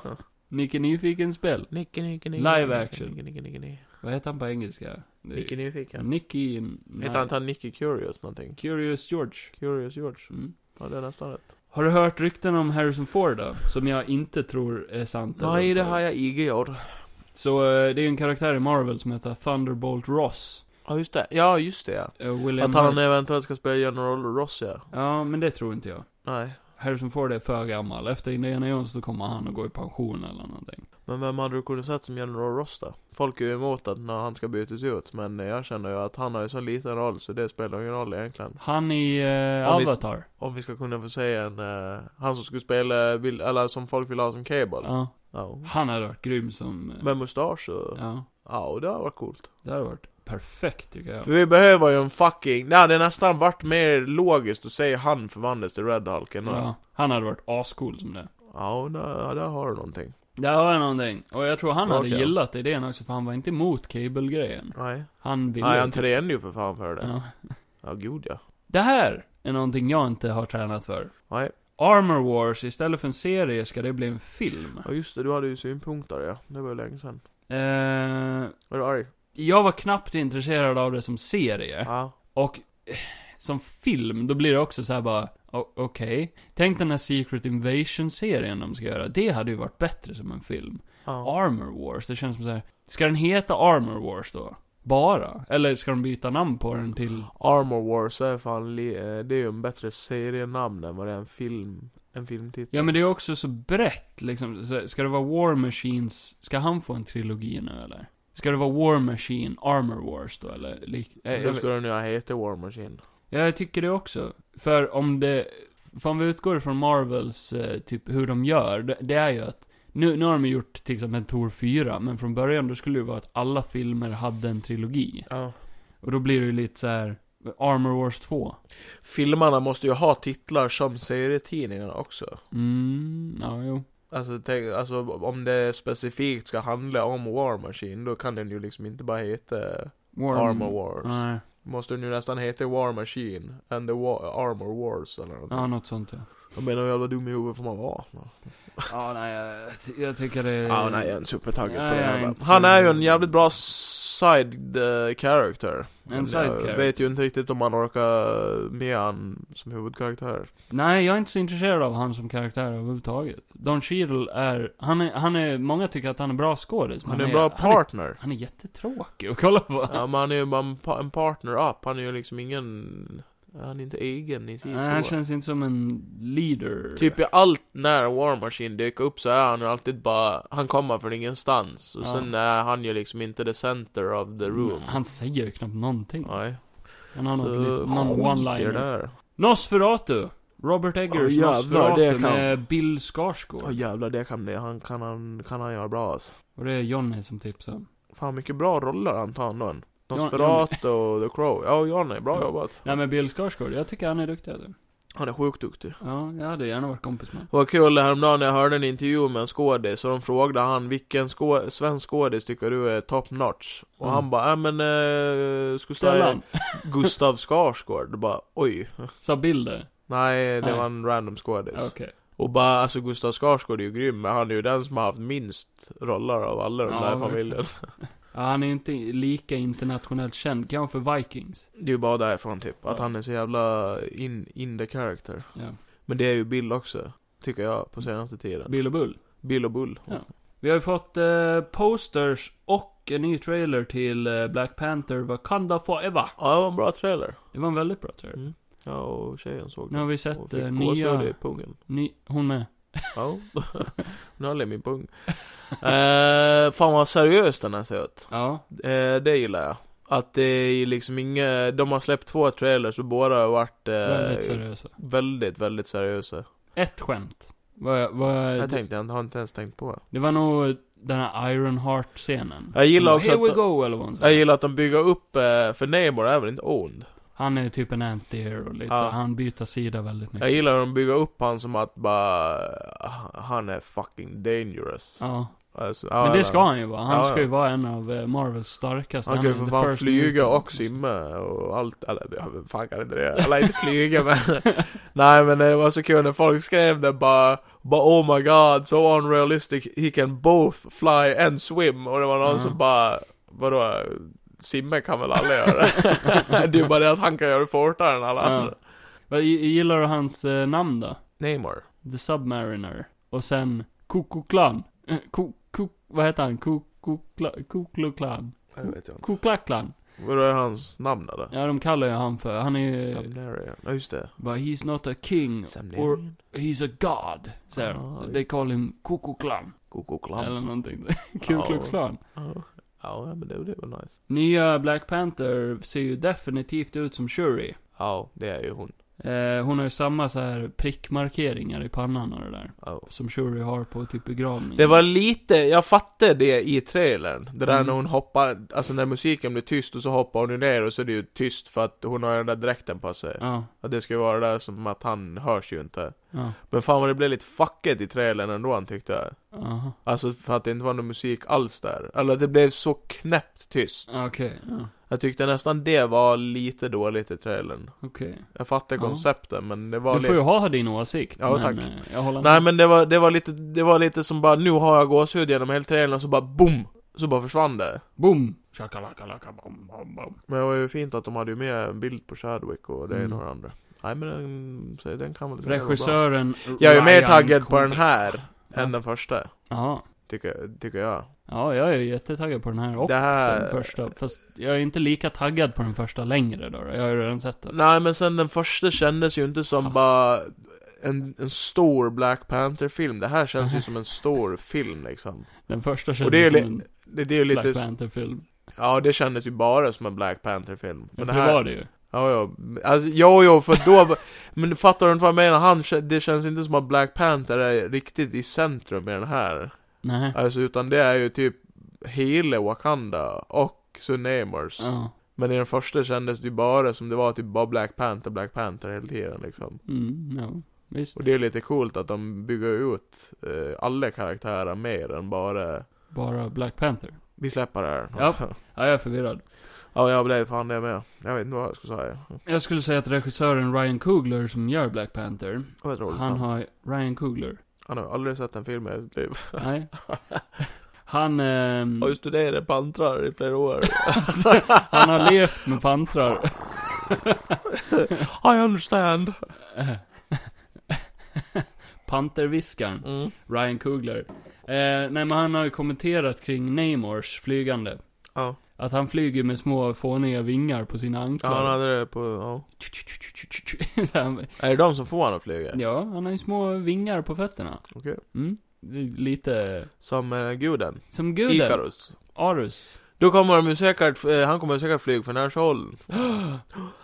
S2: Nicke Nyfiken spel.
S1: Nicke, nicke, nicke.
S2: Live
S1: nicke,
S2: action.
S1: Nicke, nicke, nicke, nicke.
S2: Vad heter han på engelska? Det är-
S1: Nicke nyfiken.
S2: Nicky...
S1: Hette han inte han Nicky Curious någonting?
S2: Curious George.
S1: Curious George.
S2: Mm.
S1: Ja det är nästan rätt.
S2: Har du hört rykten om Harrison Ford då? Som jag inte tror är sant.
S1: Nej det har
S2: överhuvudtaget.
S1: jag inte gjort.
S2: Så eh, det är ju en karaktär i Marvel som heter Thunderbolt Ross.
S1: Ja just det. Ja just det ja.
S2: Eh, William
S1: Att han
S2: Hurt.
S1: eventuellt ska spela General Ross ja.
S2: Ja, men det tror inte jag.
S1: Nej.
S2: Harrison Ford är för gammal. Efter Indiana Jones så kommer han att gå i pension eller någonting.
S1: Men vem hade du kunnat sett som General Ross då? Folk är ju emot att när han ska bytas ut, men jag känner ju att han har ju så liten roll så det spelar ingen roll egentligen.
S2: Han i eh,
S1: Ja, visst.
S2: Avatar.
S1: Om vi ska kunna få se en, eh, han som skulle spela, Bill- eller som folk vill ha som Cable. Ja.
S2: Ja. Han hade varit grym som... eh,
S1: Med mustasch och, ja.
S2: Ja.
S1: och det har varit coolt.
S2: Det hade varit perfekt tycker jag.
S1: För vi behöver ju en fucking, det hade nästan varit mer logiskt att säga han förvandlas till Red Hulk än ja.
S2: Ja. Han hade varit ascool som det.
S1: Ja, och där, ja, där har du någonting.
S2: Där har jag någonting. Och jag tror han hade
S1: Okej.
S2: gillat idén också, för han var inte emot Cable-grejen.
S1: Nej.
S2: Han ville... typ-
S1: Nej, han tränade ju för fan för det. Ja,
S2: Ja.
S1: gud ja.
S2: Det här är någonting jag inte har tränat för.
S1: Nej.
S2: Armor Wars, istället för en serie ska det bli en film.
S1: Ja just det, du hade ju synpunkter ja. Det var ju länge sedan.
S2: Eh,
S1: Var du arg?
S2: jag var knappt intresserad av det som serie.
S1: Ja.
S2: Och eh, som film, då blir det också så här bara, o- okej. Tänk den här Secret Invasion-serien de ska göra. Det hade ju varit bättre som en film.
S1: Ja.
S2: Armor Wars, det känns som så här. Ska den heta Armor Wars då? Bara? Eller ska de byta namn på den till...
S1: Armor Wars är fan, li- eh, det är ju en bättre serienamn än vad det är en film, en filmtitel.
S2: Ja men det är också så brett liksom. Så Ska det vara War Machines, ska han få en trilogi nu eller? Ska det vara War Machine, Armor Wars då eller? Lik... eh,
S1: Då
S2: Jag,
S1: skulle den ju ha hetat War Machine.
S2: ja, jag tycker det också. För om det... För om vi utgår ifrån Marvels, eh, typ hur de gör, det, det är ju att nu, nu har de gjort till exempel en Tor 4, men från början då skulle det ju vara att alla filmer hade en trilogi.
S1: Ja.
S2: Och då blir det ju lite så här Armor Wars 2.
S1: Filmerna måste ju ha titlar som serietidningarna också.
S2: Mm, ja, jo.
S1: Alltså, tänk, alltså om det specifikt ska handla om War Machine, då kan den ju liksom inte bara heta
S2: War
S1: Armor Wars.
S2: Nej.
S1: Måste den ju nästan heta War Machine and the War, Armor Wars eller något.
S2: Ja, något sånt ja.
S1: Jag menar hur jävla dum i huvudet får man vara? Ja,
S2: Ja, nej, jag, jag tycker det är...
S1: nej jag är inte supertaggad på
S2: Eh, Nej,
S1: det
S2: jag är
S1: här.
S2: inte så-
S1: Han är ju en jävligt bra side eh, character. Men
S2: En side
S1: Jag
S2: character.
S1: vet ju inte riktigt om han orkar med han som huvudkaraktär.
S2: Nej, jag är inte så intresserad av han som karaktär överhuvudtaget. Don Cheadle är... Han är... Han är många tycker att han är bra skådis, men
S1: Han är en bra
S2: han är,
S1: partner.
S2: han är jättetråkig att kolla på.
S1: Ja, men han är ju bara en, pa- en partner up. Han är ju liksom ingen... Han är inte egen i sig
S2: Nej, han
S1: så.
S2: känns inte som en leader.
S1: Typ i allt när War Machine dyker upp så är han ju alltid bara... Han kommer från ingenstans. Och
S2: Ja. Mm,
S1: sen är han ju liksom inte the center of the room.
S2: Han säger ju knappt någonting.
S1: Nej.
S2: Han har
S1: Så
S2: något, lit-
S1: skit
S2: någon
S1: i det
S2: one-liner.
S1: där.
S2: Nosferatu! Robert Eggers
S1: Åh, jävlar, det
S2: Nosferatu
S1: kan-
S2: med Bill
S1: Åh
S2: Skarsgård.
S1: jävlar, det kan, det, han, kan, han, kan han göra bra alltså.
S2: Och det är Johnny som tipsar om.
S1: Fan mycket bra roller han tar ändå.
S2: Ja,
S1: Nosferatu och The Crow. Ja, Johnny, bra
S2: Ja.
S1: jobbat.
S2: Nej men Bill Skarsgård, jag tycker han är duktig alltså.
S1: Han är sjukt duktig.
S2: Ja, jag hade gärna varit kompis med
S1: Det var kul häromdagen när jag hörde en intervju med en skådis och de frågade han vilken skå svensk skådis tycker du är top notch? Och
S2: Mm.
S1: han bara, äh men eh, skulle säga
S2: Stellan,
S1: Gustav Skarsgård. Och bara, oj.
S2: sa Bill det?
S1: Nej, det
S2: Nej.
S1: var en random skådis.
S2: Ja, Okej.
S1: Och bara, alltså Gustav Skarsgård är ju grym, men han är ju den som har haft minst roller av alla de
S2: Ja,
S1: där i
S2: verkligen.
S1: familjen.
S2: Ja, han är ju inte lika internationellt känd, kanske för Vikings.
S1: Det är ju bara därifrån typ, att
S2: Ja.
S1: han är så jävla in, in the character.
S2: Ja.
S1: Men det är ju Bill också, tycker jag, på senaste tiden.
S2: Bill och Bull.
S1: Bill och Bull.
S2: Ja. Vi har ju fått eh, posters och en ny trailer till eh, Black Panther Wakanda Forever.
S1: Ja, det var en bra trailer.
S2: Det var en väldigt bra trailer.
S1: Ja, och tjejen såg
S2: Nu
S1: den.
S2: har vi
S1: Mm. Och
S2: sett
S1: fick
S2: eh,
S1: gåshud i
S2: nya...
S1: pungen.
S2: Ny, hon med.
S1: Ja. nu håller jag min pung. Eh, fan vad seriös den här ser ut.
S2: Ja.
S1: Eh, det gillar jag. Att det är liksom inga, de har släppt två trailers och båda har varit eh,
S2: Väldigt seriösa.
S1: väldigt, väldigt seriösa.
S2: Ett skämt. Vad jag, vad jag,
S1: Jag tänkte, jag har inte ens tänkt på.
S2: Det var nog den här Ironheart-scenen.
S1: Jag gillar
S2: Han
S1: också
S2: bara,
S1: att-
S2: Here we go, eller vad hon
S1: Jag
S2: säger.
S1: gillar att de bygger upp, eh, för Namor är väl inte ond?
S2: Han är typ en anti-hero, lite
S1: Ja.
S2: så. Han byter sida väldigt mycket.
S1: Jag gillar hur de bygger upp han som att bara, eh, han är fucking dangerous.
S2: Ja.
S1: Alltså, ja,
S2: Men det
S1: eller-
S2: ska han ju vara. Han
S1: Ja,
S2: ska ju
S1: ja.
S2: vara en av eh, Marvels starkaste.
S1: Han kan ju
S2: är
S1: för
S2: the
S1: fan
S2: first
S1: flyga
S2: mutant.
S1: och simma och allt, eller ja, vem fan kan inte det? Eller inte flyga men Nej men det var så kul när folk skrev det bara bara oh my god so unrealistic he can both fly and swim och det var någon
S2: Mm.
S1: som bara vadå simma kan väl alla göra? det är ju bara det att han kan göra det fortare än alla
S2: Ja.
S1: andra.
S2: Vad gi- gillar du hans eh, namn då?
S1: Neymar.
S2: The Submariner. Och sen Kukuklan. Eh, Ku- Ku- Vad heter han? Kukukla- Kukluklan?
S1: Det vet jag inte.
S2: Kuklaklan.
S1: Vadå är hans namn eller?
S2: Ja, de kallar ju han för. Han är ju...
S1: Samnarian. Ja just det.
S2: But he's not a king. Or
S1: Samnarian.
S2: he's a god. Säger
S1: Ah,
S2: de. They call him Kukuklan. Eller
S1: Kokoklan.
S2: någonting. Kukluklan.
S1: Ja men det, det är väl nice.
S2: Nya Black Panther ser ju definitivt ut som Shuri.
S1: Ja det är ju hon.
S2: Eh, hon har ju samma så här prickmarkeringar i pannan och det där.
S1: Ja.
S2: Som Shuri har på typ begravningen.
S1: Det var lite, jag fattade det i trailern. Det där
S2: Mm.
S1: när hon hoppar, alltså när musiken blir tyst och så hoppar hon ju ner och så är det ju tyst för att hon har den där dräkten på sig.
S2: Ja.
S1: Att det ska ju vara det där som att han hörs ju inte.
S2: Ja.
S1: Men fan vad det blev lite fucket i trailern ändå han tyckte jag.
S2: Aha.
S1: Alltså för att det inte var någon musik alls där. Eller det blev så knäppt tyst.
S2: Okej. Ja.
S1: Jag tyckte nästan det var lite dåligt i trailern.
S2: Okej.
S1: Jag fattade
S2: Ja.
S1: konceptet men det var
S2: Du
S1: lite...
S2: får ju ha din åsikt.
S1: Ja,
S2: men,
S1: tack.
S2: eh, Jag håller
S1: Nej
S2: med.
S1: men det var, det var lite, det var lite som bara nu har jag gåshud genom hela trailern och så bara BOOM! Så bara försvann det.
S2: Boom! Shakalaka bom, bom, bom.
S1: Men det var ju fint att de hade ju med en bild på Chadwick och det är
S2: Mm.
S1: några andra. Nej men den, så den kan väl säkert vara bra.
S2: Regissören
S1: Jag är ju mer
S2: Ryan
S1: taggad på
S2: Coogler.
S1: den här
S2: Ja.
S1: än den första.
S2: Jaha.
S1: Tycker, tycker jag.
S2: Ja, jag är ju jättetaggad på den här och
S1: det
S2: den
S1: här...
S2: första. Fast jag är inte lika taggad på den första längre då. då. Jag har ju redan sett den.
S1: Nej men sen den första kändes ju inte som
S2: Ja.
S1: bara en, en stor Black Panther-film. Det här känns ju som en stor film liksom.
S2: Den första
S1: Och det är
S2: kändes
S1: li-
S2: som en
S1: Det, det är ju lite...
S2: Black Panther-film.
S1: Ja det kändes ju bara som en Black Panther-film.
S2: Ja,
S1: Men
S2: för det var det ju.
S1: Ja, ja. Alltså, jo, jo, för då... men fattar du inte vad jag menar? Han, kä- det känns inte som att Black Panther är riktigt i centrum i den här.
S2: Nej.
S1: Alltså, utan det är ju typ hela Wakanda och Sunemers.
S2: Ja.
S1: Men i den första kändes det ju bara som det var typ bara Black Panther, Black Panther hela tiden liksom.
S2: Mm, ja. Visst.
S1: Och det är lite coolt att de bygger ut eh, alla karaktärer mer än bara
S2: Bara Black Panther.
S1: vi släpper det här.
S2: Ja. Ja, jag är förvirrad.
S1: Ja, jag blev fan det med. Jag vet inte vad jag ska säga.
S2: Jag skulle säga att regissören Ryan Coogler som gör Black Panther,
S1: Vad roligt.
S2: han
S1: Han har...
S2: har... Ryan Coogler?
S1: han har aldrig sett en film i sitt liv.
S2: Nej. Han... ehm,
S1: Har ju studerat pantrar i flera år.
S2: han har levt med pantrar.
S1: I understand.
S2: Panterviskaren.
S1: Mm.
S2: Ryan Coogler. Eh, nej men han har ju kommenterat kring Namors flygande.
S1: Ja.
S2: Att han flyger med små fåniga vingar på sina
S1: ja, han
S2: anklar.
S1: hade det på... Ja.
S2: Så han-
S1: Är det de som får honom att flyga?
S2: ja, han har ju små vingar på fötterna.
S1: Okej.
S2: Mm. Det är Lite...
S1: Som eh, guden.
S2: Som guden.
S1: Ikarus.
S2: Arus.
S1: Då kommer de ju säkert, eh, han kommer säkert flyga från Nashållen.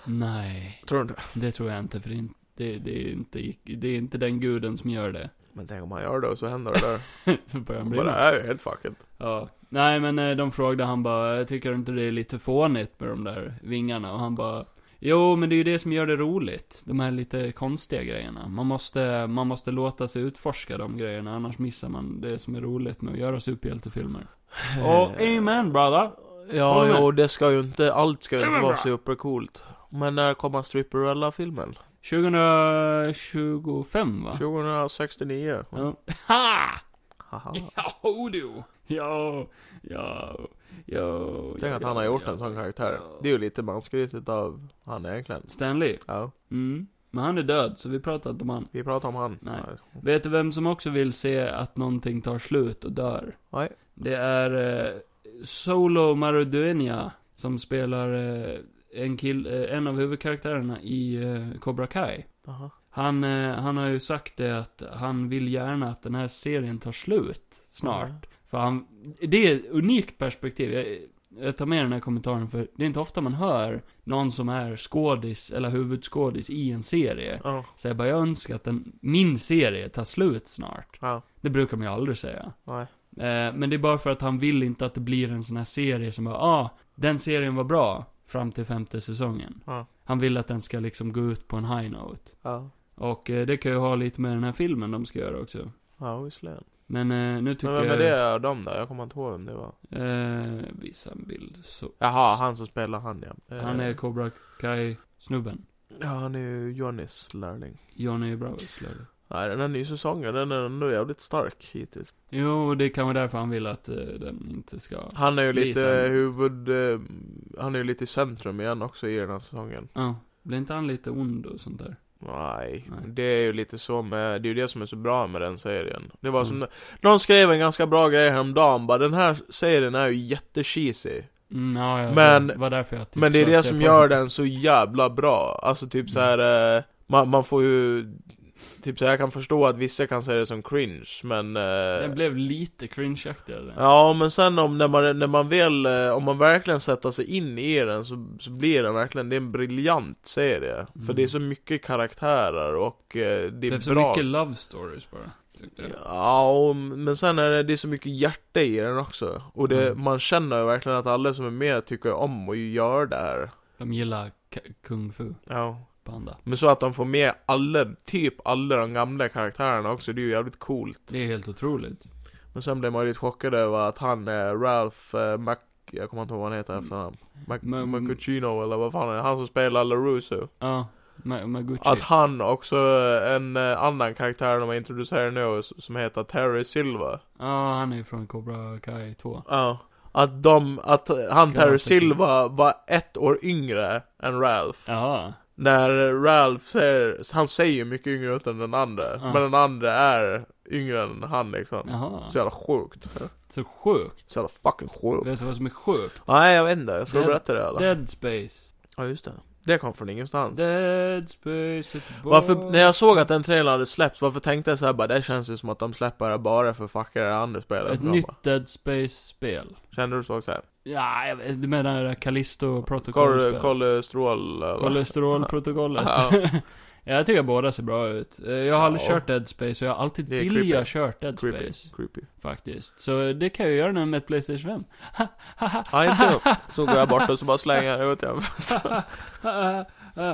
S2: Nej,
S1: Tror du inte?
S2: det tror jag inte. För det är, inte- det, det, är inte, det är inte den guden som gör det.
S1: Men tänk om han gör det och så händer det där.
S2: Så börjar han
S1: Bara,
S2: bli
S1: det här är ju helt fucket.
S2: Ja. Nej men eh, de frågade han bara, tycker du inte det är lite fånigt med de där vingarna? Och han bara, jo men det är ju det som gör det roligt. De här lite konstiga grejerna. Man måste, man måste låta sig utforska de grejerna, annars missar man det som är roligt med att göra superhjältefilmer.
S1: Eh.
S2: Och amen brother.
S1: Ja,
S2: Håller med.
S1: jo, det ska ju inte, allt ska ju
S2: Det
S1: inte
S2: var
S1: vara
S2: bra.
S1: supercoolt. Men när kommer Stripperella-filmen?
S2: 2025 va?
S1: 2069.
S2: Ja. Ha!
S1: Haha.
S2: Ja, du! Ja, ja, ja.
S1: Tänk att han har gjort en sån karaktär. Det är ju lite mansgrisigt av han egentligen.
S2: Stanley.
S1: Ja,
S2: Mm. Men han är död, så vi pratar inte om han.
S1: vi pratar om han.
S2: Nej. Vet du vem som också vill se att någonting tar slut och dör?
S1: Nej.
S2: Det är eh, Solo Maruduena som spelar eh, en, kill, eh, en av huvudkaraktärerna i eh, Cobra Kai.
S1: Jaha.
S2: Han, eh, han har ju sagt det att han vill gärna att den här serien tar slut snart.
S1: Mm.
S2: För han, det är ett unikt perspektiv. Jag, jag tar med den här kommentaren för det är inte ofta man hör någon som är skådis eller huvudskådis i en serie.
S1: Ja.
S2: Så jag bara, jag önskar att den, min serie tar slut snart.
S1: Ja.
S2: Det brukar man ju aldrig säga.
S1: Nej.
S2: Eh, men det är bara för att han vill inte att det blir en sån här serie som bara, ah, den serien var bra fram till femte säsongen.
S1: Ja.
S2: Han vill att den ska liksom gå ut på en high note.
S1: Ja.
S2: Och eh, det kan ju ha lite med den här filmen de ska göra också.
S1: Ja, visserligen.
S2: Men eh, nu tycker
S1: Men vem är
S2: jag...
S1: det av dem där? Jag kommer inte ihåg vem det var.
S2: Eh, visa en bild så.
S1: Jaha, han som spelar han ja. Eh,
S2: Han är Cobra Kai-snubben.
S1: Ja, han är ju Johnnys lärling.
S2: Johnny Bravo's lärling.
S1: Nej, den här nya säsongen, den är ändå jävligt stark hittills.
S2: Jo, det kan vara därför han vill att eh, den inte ska...
S1: Han är ju lite
S2: Lisa.
S1: huvud... Eh, han är ju lite i centrum igen också i den här säsongen.
S2: Ja. blir inte han lite ond och sånt där?
S1: Nej,
S2: Nej.
S1: det är ju lite så med... Det är ju det som är så bra med den serien. Det var
S2: Mm.
S1: som... Någon skrev en ganska bra grej häromdagen, bara den här serien är ju jättecheesy.
S2: Mm, ja, ja,
S1: Men-
S2: det var därför jag Mm. typ
S1: Men det är det
S2: satsade
S1: som
S2: på
S1: gör den så jävla bra. Alltså typ så här. eh, Man, man får ju... Typ så här, jag kan förstå att vissa kan se det som cringe, men... eh,
S2: Den blev lite cringeaktig alltså.
S1: Ja, men sen om, när, man, när man väl, eh, om man verkligen sätter sig in i den så, så blir den verkligen, det är en briljant serie. För
S2: Mm.
S1: det är så mycket karaktärer och eh, det
S2: det
S1: är
S2: blev så
S1: bra.
S2: mycket love stories bara. tyckte jag.
S1: Ja, och- men sen är det, det är så mycket hjärta i den också. Och det,
S2: Mm.
S1: man känner ju verkligen att alla som är med tycker om och gör det här.
S2: De gillar ka- Kung Fu
S1: Ja.
S2: Panda.
S1: Men så att de får med alla, typ alla de gamla karaktärerna också, det är ju jävligt coolt.
S2: Det är helt otroligt.
S1: Men sen blev man ju lite chockad över att han, eh, Ralph eh, Mac... Jag kommer inte ihåg vad han heter efter honom. Mac-
S2: Men-
S1: Macuccino eller vad fan är det? Han som spelar LaRusso.
S2: Ja, med, med Gucci.
S1: Att han också, eh, en eh, annan karaktär de har introducerat nu, s- som heter Terry Silva.
S2: Ja, han är ju från Cobra Kai 2.
S1: Ja. Att de, att eh, han
S2: Gammal
S1: Terry
S2: person.
S1: Silva var ett år yngre än Ralph.
S2: Jaha.
S1: När Ralph säger, han säger ju mycket yngre ut än den andra.
S2: Ja.
S1: Men den andra är yngre än han liksom.
S2: Jaha.
S1: Så jävla sjukt.
S2: Så sjukt.
S1: Så jävla fucking sjukt.
S2: Vet du vad som är sjukt?
S1: Nej jag vet inte, jag ska
S2: Det-
S1: berätta det eller?
S2: Dead Space.
S1: Ja just det. Det kom från ingenstans.
S2: Dead Space ett barn.
S1: Varför, när jag såg att den trailern hade släppts, varför tänkte jag såhär bara det känns ju som att de släpper det bara för att fucka det andra spelet?
S2: Ett
S1: Jag
S2: nytt
S1: bara,
S2: Dead Space-spel.
S1: Kände du så också?
S2: Ja, jag vet, du menar det där Callisto
S1: Koll,
S2: protokollspelet?
S1: kolesterol eller?
S2: Kolesterolprotokollet.
S1: Ja.
S2: jag tycker båda ser bra ut. Eh, Jag har aldrig
S1: Ja.
S2: kört Dead Space och jag har alltid
S1: Det är
S2: vilja
S1: creepy.
S2: kört Dead
S1: Creepy.
S2: Space.
S1: Creepy.
S2: Faktiskt. Så det kan jag göra nu med ett Playstation 5.
S1: Ja inte Så går jag bort och så bara slänger jag ut den.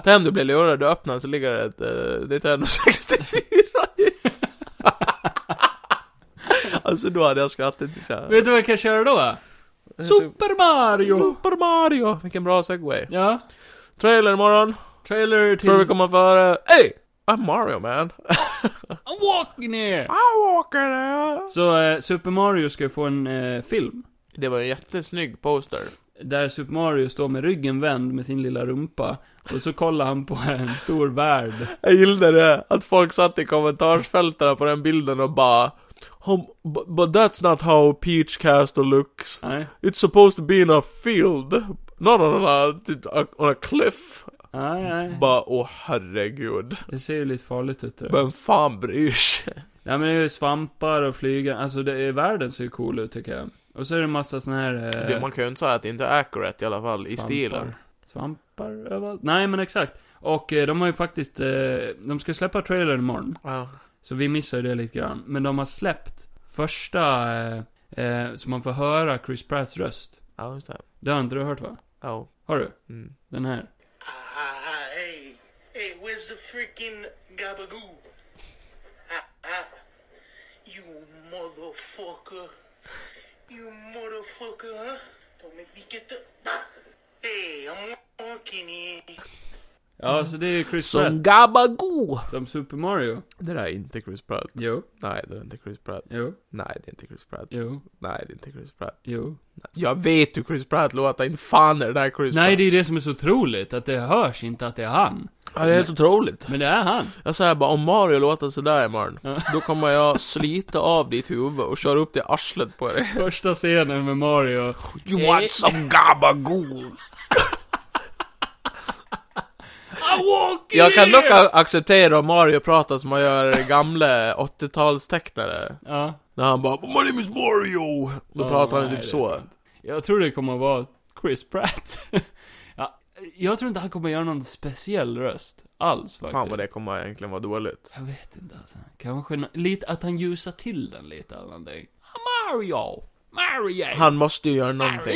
S1: Tänk om du blir lurad, du öppnar så ligger det ett eh, Nintendo 64 just. Alltså då hade jag skrattat till såhär.
S2: Vet du vad jag kan köra då? Super Mario!
S1: Super Mario! Vilken bra segway.
S2: Ja.
S1: Trailer imorgon.
S2: Trailer
S1: Tror vi
S2: till
S1: kommer före... Hey! I'm Mario man.
S2: I'm walking here!
S1: I walker there.
S2: Så eh, Super Mario ska få en eh, film.
S1: Det var en jättesnygg poster.
S2: Där Super Mario står med ryggen vänd med sin lilla rumpa. Och så kollar han på en stor värld.
S1: Jag gillade det, att folk satt i kommentarsfältena på den bilden och bara "Hom- bu- But that's not how Peach Castle looks.
S2: Nej.
S1: It's supposed to be in a field. Not on a, typ, a, on a cliff.
S2: Nej, nej.
S1: Bara, åh herregud.
S2: Det ser ju lite farligt ut det där.
S1: Vem fan bryr sig?
S2: Nej men det är ju svampar och flygande, alltså det är, världen ser ju cool ut tycker jag. Och så är det en massa såna här... eh,
S1: Det, man kan ju inte säga att det inte är accurate i alla fall, i stilen.
S2: Svampar överallt. Nej men exakt. Och eh, de har ju faktiskt, eh, de ska släppa trailern imorgon.
S1: Ja.
S2: Så vi missar ju det lite grann. Men de har släppt första, eh, eh, så man får höra Chris Pratts röst.
S1: Ja, just det.
S2: Det har inte du hört va?
S1: Ja.
S2: Har du?
S1: Mm.
S2: Den här?
S3: Ah, hey, hey, where's the freaking gabagoo? Ah, ah, you motherfucker. You motherfucker, huh? Don't make me get the. Hey, I'm walking here.
S2: Ja, så det är ju Chris
S1: Som
S2: Pratt
S1: Gabago!
S2: som Super Mario.
S1: Det där är inte Chris Pratt.
S2: Jo,
S1: Nej, det är inte Chris Pratt.
S2: jo,
S1: Nej, det är inte Chris Pratt.
S2: jo,
S1: Nej, det är inte Chris Pratt.
S2: jo.
S1: Jag vet hur Chris Pratt låter, inte fan är det där Chris
S2: Nej,
S1: Pratt.
S2: det är det som är så otroligt, att det hörs inte att det är han.
S1: Ja, det är helt otroligt.
S2: Men det är han.
S1: Jag säger bara, om Mario låter sådär imorgon,
S2: Ja.
S1: då kommer jag slita av ditt huvud och köra upp det i arslet på dig.
S2: Första scenen med Mario.
S1: You want some gabagool?
S2: I walk
S1: Jag kan dock
S2: here!
S1: a- acceptera om Mario pratar som man gör gamla 80-talstecknare.
S2: Ja.
S1: När han bara 'My name is Mario' Då
S2: Ja,
S1: pratar han
S2: nej,
S1: typ
S2: det
S1: så.
S2: tror jag inte. Jag tror det kommer att vara Chris Pratt. ja, jag tror inte han kommer göra någon speciell röst. Alls faktiskt.
S1: Fan vad det kommer egentligen vara dåligt.
S2: Jag vet inte alltså. Kanske nå- lite att han ljusar till den lite eller någonting. Mario! Mario!
S1: Han måste ju göra någonting.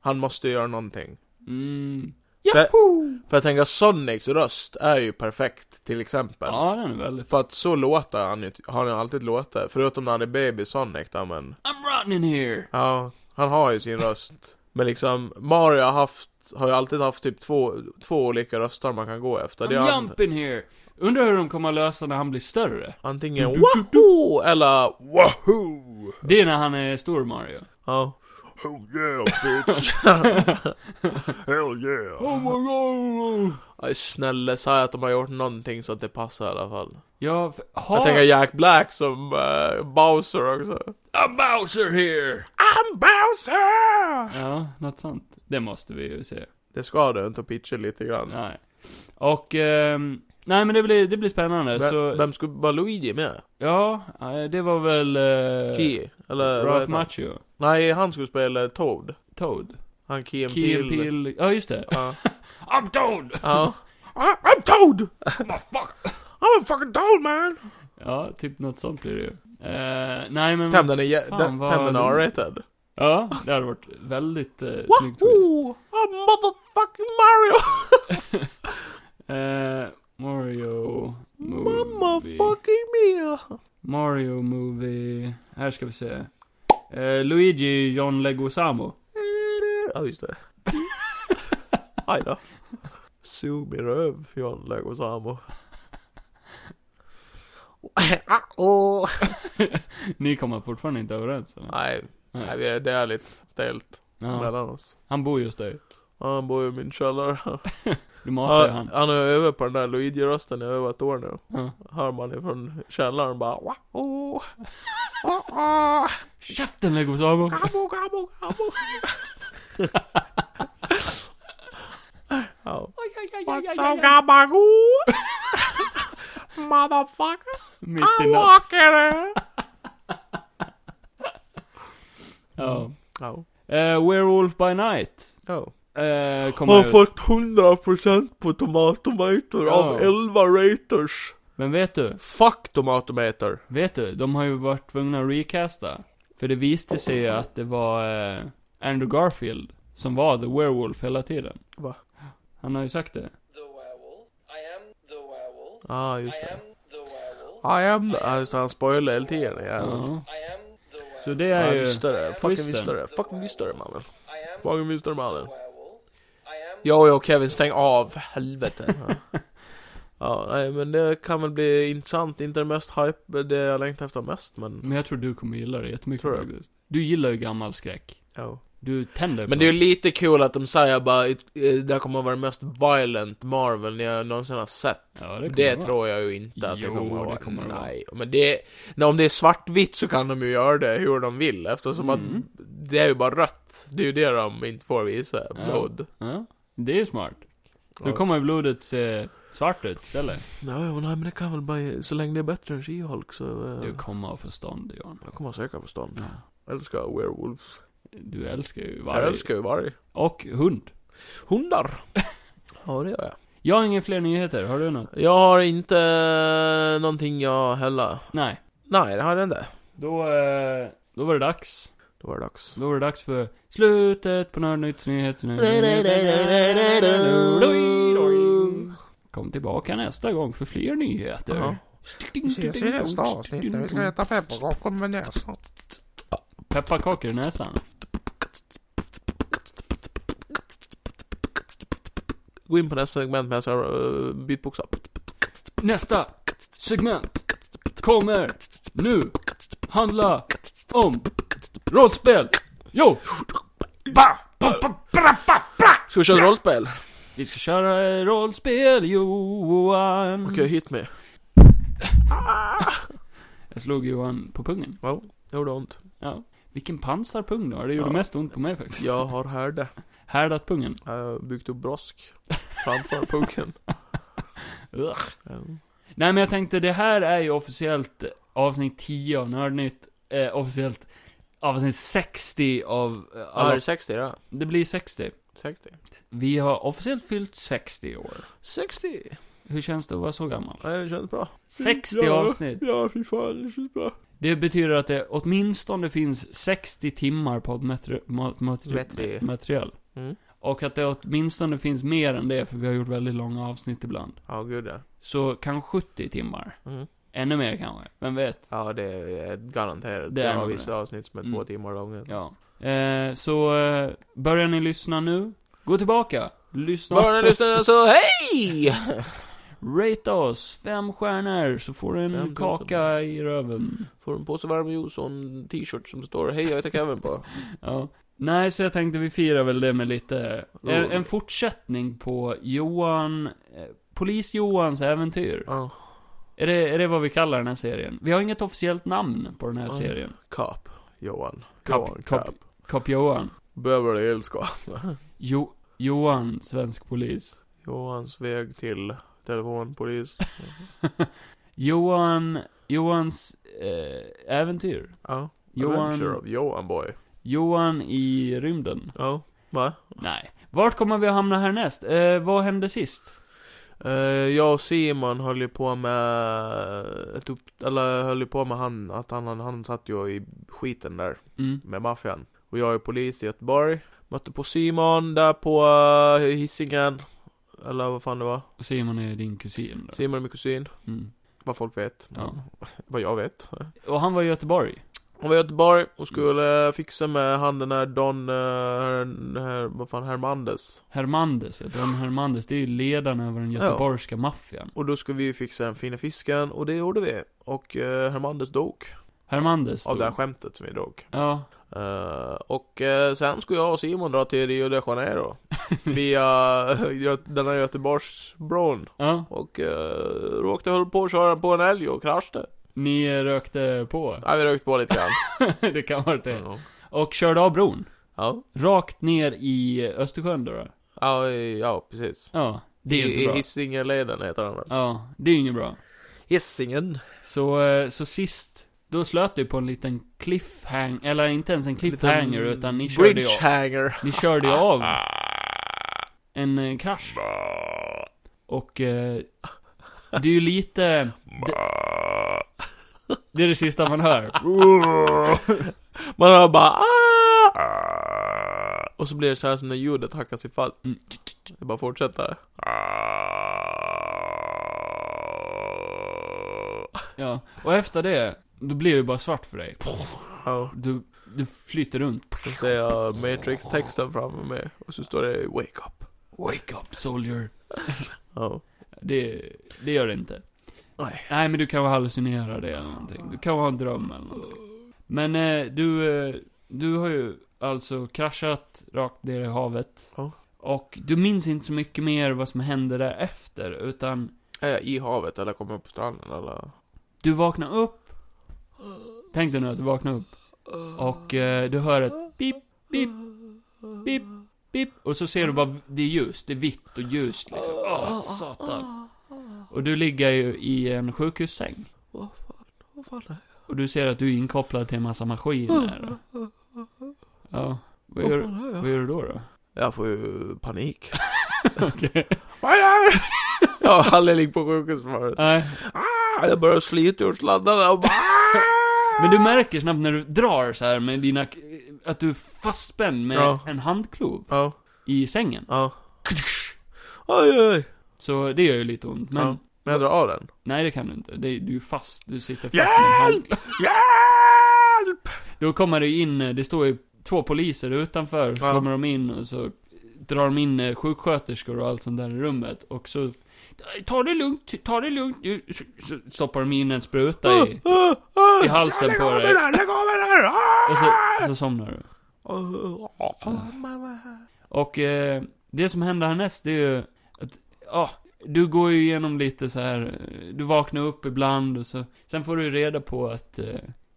S1: Han måste ju göra någonting.
S2: Mm.
S1: För-
S2: Yahoo!
S1: För jag tänker Sonics röst är ju perfekt, till exempel.
S2: Ja, den är väldigt...
S1: För att så låter han ju, har han ju alltid låtit. Förutom när han är baby Sonic då men.
S2: I'm running here!
S1: Ja, han har ju sin röst. Men liksom, Mario har haft, har ju alltid haft typ två, två olika röster man kan gå efter. Det är
S2: I'm
S1: an,
S2: jumping here! Undrar hur de kommer att lösa när han blir större.
S1: antingen
S2: Du, du, du,
S1: Wahoo! eller Wahoo!
S2: Det är när han är stor Mario.
S1: Ja.
S4: Oh yeah, bitch. Hell yeah.
S2: Oh my god!
S1: Aj, snälla, säg att de har gjort någonting så att det passar i alla fall.
S2: Ja, för-
S1: Jag
S2: har...
S1: tänker Jack Black som eh, Bowser också.
S2: I'm Bowser here!
S1: I'm Bowser!
S2: Ja, något sånt. Det måste vi ju se.
S1: Det ska du inte pitcha lite grann.
S2: Nej. Och, ehm, nej men det blir, det blir spännande.
S1: Vem,
S2: så,
S1: vem skulle vara Luigi med?
S2: ja, eh, det var väl... Eh,
S1: Key? Eller vad
S2: Ralph
S1: heter han?
S2: Macchio.
S1: Nej, han skulle spela Toad.
S2: Toad.
S1: Han Key and
S2: Key and
S1: Peele.
S2: Peele. Ja, just det.
S1: Ja.
S2: I'm Toad!
S1: ja. I'm Toad!
S2: Motherfucker!
S1: I'm a fucking Toad man!
S2: Ja, typ något sånt blir det ju. Eh, nej men...
S1: Tänk om den är, jä-
S2: Fan,
S1: den-
S2: vad-
S1: tänk om den är R-rated.
S2: Ja, det hade varit väldigt eh, snyggt twist.
S1: Wahoo! I'm motherfucking Mario!
S2: Eh, Mario... Movie.
S1: Mamma fucking mia!
S2: Mario Movie. Här ska vi se. Eh, Luigi John Leguizamo.
S1: Ja, just det. Aj då. Sug min röv, John Leguizamo. Åh.
S2: Ni kommer fortfarande inte överens eller?
S1: Nej,
S2: Nej.
S1: nej, vi är- det är lite stelt
S2: Ja,
S1: mellan oss.
S2: han bor just där.
S1: Han bor ju i min källare.
S2: Du matar ju
S1: Han,
S2: han.
S1: han har ju övat på den där Luigi-rösten i över ett år nu.
S2: Ja.
S1: Hör man ifrån källaren bara "Wah, oh, oh, oh,
S2: Käften Leguizamo!
S1: gabo, gabo, gabo. Ja. What's up gabagoo? Motherfucker,
S2: Mitt i
S1: I'm
S2: natten.
S1: walking
S2: Ja.
S1: Ja.
S2: Eh, Werewolf by Night.
S1: Ja.
S2: Eh,
S1: Har
S2: kommer ut.
S1: fått 100% på Tomatometer av
S2: Ja.
S1: 11 raters.
S2: Men vet du?
S1: Fuck Tomatometer.
S2: Vet du? De har ju varit tvungna att recasta. För det visade sig ju att det var eh, Andrew Garfield som var The Werewolf hela tiden.
S1: Va?
S2: Han har ju sagt det.
S5: the werewolf. I am the werewolf.
S1: Ja, ah, just
S5: I
S1: det.
S5: am the werewolf.
S1: I am the... Ah, just det, han spoilar hela tiden. Ja.
S2: Ja.
S5: I am the werewolf.
S2: Så det
S1: Ja,
S2: är ju...
S1: visst är det. Fucking
S2: twisten.
S1: visst är det. Fucking visst är det
S5: I
S1: mannen.
S5: am
S1: Fucking visst är det mannen.
S5: the werewolf. I am
S1: Jag och Kevin, stäng av, helvete. Ja. ja, nej men det kan väl bli intressant. Inte det mest hype, det jag längtar efter mest men...
S2: Men jag tror du kommer gilla det jättemycket
S1: Tror du?
S2: faktiskt. Du gillar ju gammal skräck.
S1: Ja.
S2: Du tänder på
S1: Men det är ju lite kul att de säger bara eh, det här kommer att vara det mest violent Marvel ni jag någonsin har sett.
S2: Ja,
S1: det
S2: det, kommer vara.
S1: tror jag ju inte att det
S2: Jo,
S1: kommer att
S2: det
S1: vara.
S2: kommer det vara.
S1: Nej, men det... Nej, om det är svartvitt så kan de ju göra det hur de vill eftersom
S2: Mm.
S1: att det är ju bara rött. Det är ju det de inte får visa, blod.
S2: Ja, det är ju smart. Då
S1: Ja.
S2: kommer ju blodet se svart ut istället.
S1: Ja, ja, men nej, men det kan väl bara, så länge det är bättre än She-Hulk så... eh,
S2: Du kommer ha förstånd, Johan.
S1: Jag kommer säkert förstånd.
S2: Ja.
S1: Älskar werewolves.
S2: Du älskar ju
S1: Jag
S2: varg.
S1: älskar ju varg.
S2: Och hund.
S1: Hundar! ja, det gör jag.
S2: Jag har inga fler nyheter, har du något?
S1: Jag har inte eh, någonting jag heller.
S2: Nej.
S1: Nej, det har jag inte.
S2: Då, eh, då var det dags.
S1: Då var det dags.
S2: Då var det dags för slutet på Nördnytts nyheter. Kom tillbaka nästa gång för fler nyheter.
S1: Ja.
S6: Vi ses i nästa avsnitt när vi ska äta pepparkakor med näsan.
S2: Pepparkakor i näsan.
S1: Gå in på nästa segment medan jag uh, byter bokstav.
S2: Nästa segment kommer nu handla om rollspel. Jo!
S1: Ska vi köra rollspel?
S2: Vi ska köra eh, rollspel Johan.
S1: Okej, hit me.
S2: Jag slog Johan på pungen.
S1: Ja, det gjorde ont.
S2: Ja. Vilken pansarpung du har. Det gjorde
S1: Ja.
S2: mest ont på mig faktiskt.
S1: Jag har härde.
S2: Härdat pungen.
S1: Jag har byggt upp brosk. Framför pungen.
S2: Ugh.
S1: Ja.
S2: Nej men jag tänkte, det här är ju officiellt avsnitt 10 av Nördnytt. Eh, officiellt avsnitt 60 av eh,
S1: Ja, det
S2: alla...
S1: är 60 då.
S2: Det blir 60.
S1: 60.
S2: Vi har officiellt fyllt 60 år.
S1: 60!
S2: Hur känns det att vara så gammal?
S1: Ja, det känns bra.
S2: 60
S1: Ja.
S2: avsnitt.
S1: Ja, fy fan, det känns bra.
S2: Det betyder att det åtminstone finns 60 timmar poddmaterial.
S1: Typ Materi-
S2: material.
S1: Mm.
S2: Och att det åtminstone finns mer än det, för vi har gjort väldigt långa avsnitt ibland.
S1: Ja, gud ja.
S2: Så kanske 70 timmar.
S1: Mm.
S2: Ännu mer kanske. Vem vet?
S1: Ja, det är garanterat. Det
S2: Det är
S1: är har
S2: nog
S1: vissa avsnitt som är
S2: Mm.
S1: två timmar långa.
S2: Ja. Eh, så, eh, börjar ni lyssna nu? Gå tillbaka! Lyssna.
S1: Bara ni lyssnar så hej!
S2: Rata oss! Fem stjärnor, så får du en
S1: Fem tusen.
S2: kaka i röven.
S1: Får en påse varm juice och en t-shirt som står hej jag heter Kevin på.
S2: Ja. Nej, så jag tänkte vi firar väl det med lite... En,
S1: Roligt.
S2: en fortsättning på Johan... eh, Polis-Johans äventyr.
S1: Ja.
S2: Är, det, är det vad vi kallar den här serien? Vi har inget officiellt namn på den här
S1: Ja.
S2: serien.
S1: Kap. Johan.
S2: Kap-
S1: Johan,
S2: kap- Kap-Johan.
S1: Beverly Hills Cop.
S2: Jo, Johan, svensk polis.
S1: Johans väg till telefonpolis.
S2: Johan... Johans eh, äventyr.
S1: Ja.
S2: Johan-
S1: Adventure of Johan boy.
S2: Johan i rymden.
S1: Ja. Va?
S2: Nej. Vart kommer vi att hamna härnäst? Eh, vad hände sist?
S1: Eh, jag och Simon höll ju på med ett upp, eller höll ju på med han, att han, han, han satt ju i skiten där
S2: Mm.
S1: med maffian. Och jag är polis i Göteborg. Mötte på Simon där på uh, Hisingen. Eller vad fan det var.
S2: Simon är din kusin då.
S1: Simon är min kusin.
S2: Mm.
S1: Vad folk vet.
S2: Ja.
S1: Vad jag vet.
S2: Och han var i Göteborg.
S1: Hon var i Göteborg och skulle eh, fixa med han den här Don, eh, den här, vad fan, Hermandes.
S2: Hermandes, ja. Don Hermandes, det är ju ledaren över den göteborgska maffian.
S1: Och då skulle vi ju fixa den fina fisken och det gjorde vi. Och eh, Hermandes dog.
S2: Hermandes
S1: Av
S2: stod-
S1: det här skämtet som vi drog.
S2: Ja,
S1: Eh, och eh, sen skulle jag och Simon dra till Rio de Janeiro. via eh, Gö- den här Göteborgsbron.
S2: ja.
S1: Och eh, råkade höll på att köra på en älg och kraschade.
S2: Ni eh, rökte på.
S1: Nej, vi rökt på lite grann.
S2: det kan vara det.
S1: Ja.
S2: Och körde av bron.
S1: Ja.
S2: Rakt ner i Östersjön då. då.
S1: Ja, i- ja, precis.
S2: Ja, det är ju
S1: I,
S2: inte
S1: i
S2: bra.
S1: Hisingenleden heter den väl?
S2: Ja, det är ju inget bra.
S1: Hisingen.
S2: Så, eh, så sist, då slöt du på en liten cliffhang, eller inte ens en cliffhanger,
S1: Liten
S2: utan ni körde ju av.
S1: Bridgehanger.
S2: Ni körde ju av en eh, krasch. Och eh, det är ju lite... Det, det är det sista man hör.
S1: Man hör bara "Ah!" Och så blir det så här som när ljudet hackar sig fast.
S2: Mm.
S1: Det bara fortsätter.
S2: Ja, och efter det, då blir det bara svart för dig.
S1: Ja.
S2: Du, du flyter runt.
S1: Sen ser jag Matrix-texten framför mig. Och så står det 'Wake up'
S2: Wake up soldier.
S1: Ja.
S2: Det, det gör det inte.
S1: Nej.
S2: Nej, men du kan hallucinera det eller någonting. Du kan ha en dröm eller någonting. Men eh, du, eh, du har ju alltså kraschat rakt ner i havet.
S1: Ja.
S2: Och du minns inte så mycket mer vad som hände därefter, utan
S1: Är jag i havet eller kommer jag på stranden eller?
S2: Du vaknar upp. Tänk dig nu att du vaknar upp. Och eh, du hör ett pip, pip, pip, pip. Och så ser du bara, det är ljust, det är vitt och ljust liksom. Åh, satan. Och du ligger ju i en sjukhussäng.
S1: Vad fan är
S2: Och du ser att du är inkopplad till en massa maskiner. Ja. Vad
S1: jag? Vad
S2: gör,
S1: fan är jag?
S2: vad gör du då då?
S1: Jag får ju panik.
S2: Okej.
S1: Vad är det här? Jag har aldrig liggt på sjukhus förut.
S2: Nej.
S1: Ah, Jag börjar slita ur sladdarna och bara... ah!
S2: Men du märker snabbt när du drar så här med dina, att du är fastspänd med
S1: Ja.
S2: en handklov
S1: Ja,
S2: i sängen.
S1: ja. "Ah!" Oj, oj, oj.
S2: Så det gör ju lite ont, men
S1: Ja. Men jag drar av den.
S2: Nej det kan du inte. Det, du är fast, du sitter fast med en
S1: Hjälp!
S2: handklock.
S1: Hjälp!
S2: Då kommer det in, eh, det står ju två poliser utanför, så
S1: Ja.
S2: kommer de in och så drar de in eh, sjuksköterskor och allt sånt där i rummet. Och så, ta det lugnt, ta det lugnt. Du- Så, så stoppar de in en spruta i,
S1: Ah, ah.
S2: i halsen
S1: Lägg
S2: på
S1: av mig
S2: dig.
S1: där, lägg av mig där! Ah!
S2: Och så, så somnar du.
S1: Ah, mamma.
S2: Och eh, det som händer härnäst, det är ju att, ja, du går ju igenom lite så här, eh, du vaknar upp ibland och så, sen får du ju reda på att, eh,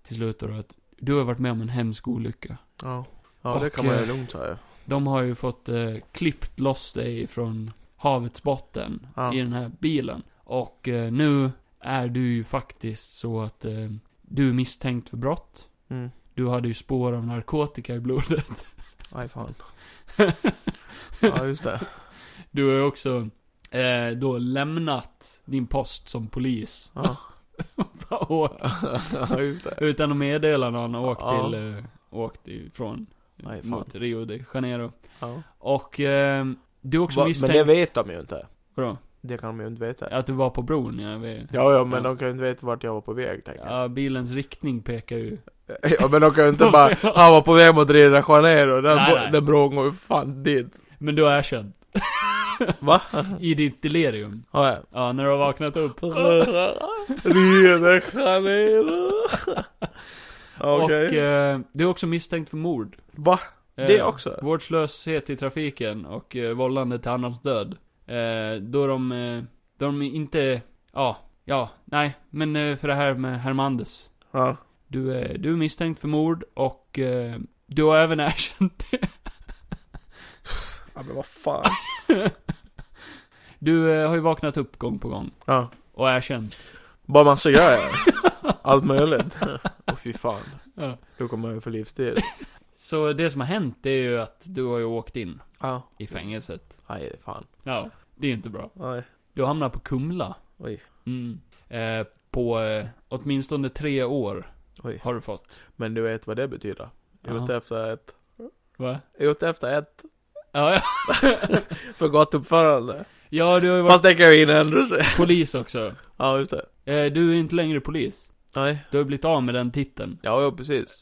S2: till slut då, att du har varit med om en hemsk olycka.
S1: Ja, ja det
S2: Och,
S1: kan man
S2: eh,
S1: ju lugnt säga.
S2: De har ju fått eh, klippt loss dig från havets botten
S1: Ja.
S2: i den här bilen. Och eh, nu är du ju faktiskt så att eh, du är misstänkt för brott.
S1: Mm.
S2: Du hade ju spår av narkotika i blodet.
S1: Aj fan. Ja, just det.
S2: Du har ju också eh, då lämnat din post som polis.
S1: Ja,
S2: och åkt,
S1: ja just det.
S2: utan att meddela någon och åkt
S1: Ja.
S2: till, eh, åkt ifrån.
S1: Nej, fan.
S2: mot Rio de Janeiro.
S1: Ja.
S2: Och eh, du är också
S1: Va, men
S2: misstänkt.
S1: det vet de ju inte.
S2: Vadå?
S1: Det kan de ju inte veta.
S2: Att du var på bron, ja. Vid,
S1: Ja, ja, men
S2: Ja.
S1: de kan ju inte veta vart jag var på väg, tänker jag.
S2: Ja, bilens riktning pekar ju...
S1: Ja, men de kan ju inte bara, han var på väg mot Rio de Janeiro, den,
S2: Nej,
S1: bo-
S2: nej.
S1: den bron går ju fan dit.
S2: Men du har erkänt.
S1: Va?
S2: I ditt delirium.
S1: Ja, ja.
S2: Ja, när du har vaknat upp.
S1: Rio de Janeiro. Okej.
S2: Och eh, du är också misstänkt för mord.
S1: Va?
S2: Eh,
S1: Det också?
S2: Vårdslöshet i trafiken och eh, vållande till annans död. Eh, då de... Eh, då de inte... Ja, ja, nej. Men eh, för det här med Hermandes.
S1: Ja.
S2: Du är, du är misstänkt för mord och eh, du har även erkänt det.
S1: ja, men vad fan.
S2: Du eh, har ju vaknat upp gång på gång
S1: Ja.
S2: och erkänt.
S1: Bara massa grejer. Allt möjligt. Åh fy fan.
S2: Ja.
S1: Då kommer jag ju för livstid.
S2: Så det som har hänt det är ju att du har ju åkt in
S1: Ja.
S2: i fängelset.
S1: Nej, fan.
S2: Ja, det är inte bra.
S1: Nej.
S2: Du hamnar på Kumla.
S1: Oj.
S2: Mm. Eh, på eh, åtminstone tre år
S1: Oj.
S2: har du fått.
S1: Men du vet vad det betyder?
S2: Ja.
S1: Ute efter ett...
S2: Va?
S1: Ute efter ett
S2: Ja, ja.
S1: för gott uppförande.
S2: ja, du har ju varit
S1: Fast det kan ju inte ändra sig.
S2: polis också.
S1: Ja, just det.
S2: Eh, du är inte längre polis.
S1: Nej.
S2: Du har blivit av med den titeln.
S1: Ja, ja precis.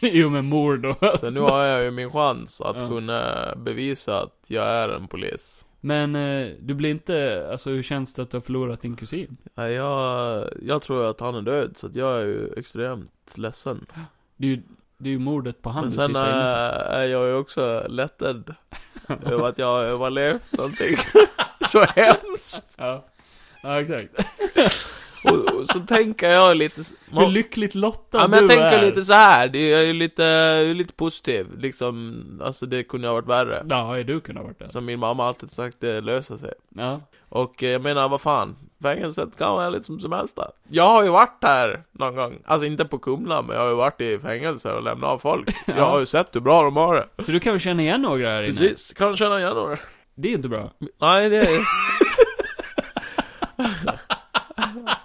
S2: jo, men mord och allt
S1: Så nu har jag ju min chans att
S2: Alltså. Ja.
S1: kunna bevisa att jag är en polis.
S2: Men eh, du blir inte, alltså hur känns det att du har förlorat din kusin?
S1: Nej, Jag, jag tror att han är död, så att jag är ju extremt ledsen.
S2: Det är ju, det är ju mordet på han
S1: Men
S2: du
S1: sen
S2: sitter
S1: äh,
S2: inne för.
S1: är jag ju också lättad över att jag har överlevt någonting så hemskt.
S2: Ja. ja, exakt.
S1: Och, och så tänker jag lite... s-
S2: Hur lyckligt lottad
S1: Ja, men jag
S2: du
S1: tänker
S2: är.
S1: lite så här. Det är ju lite, lite positiv, liksom. Alltså det kunde ha varit värre.
S2: Ja, hade du kunnat varit det.
S1: Som min mamma alltid sagt, det löser sig.
S2: Ja.
S1: Och eh, jag menar, vad fan. Fängelset kan vara lite som semester. Jag har ju varit här någon gång. Alltså inte på Kumla, men jag har ju varit i fängelser och lämnat av folk. Jag
S2: Ja.
S1: har ju sett hur bra de har det.
S2: Så du kan väl känna igen några här inne?
S1: Precis, kan känna igen några.
S2: Det är inte bra.
S1: Nej, det är...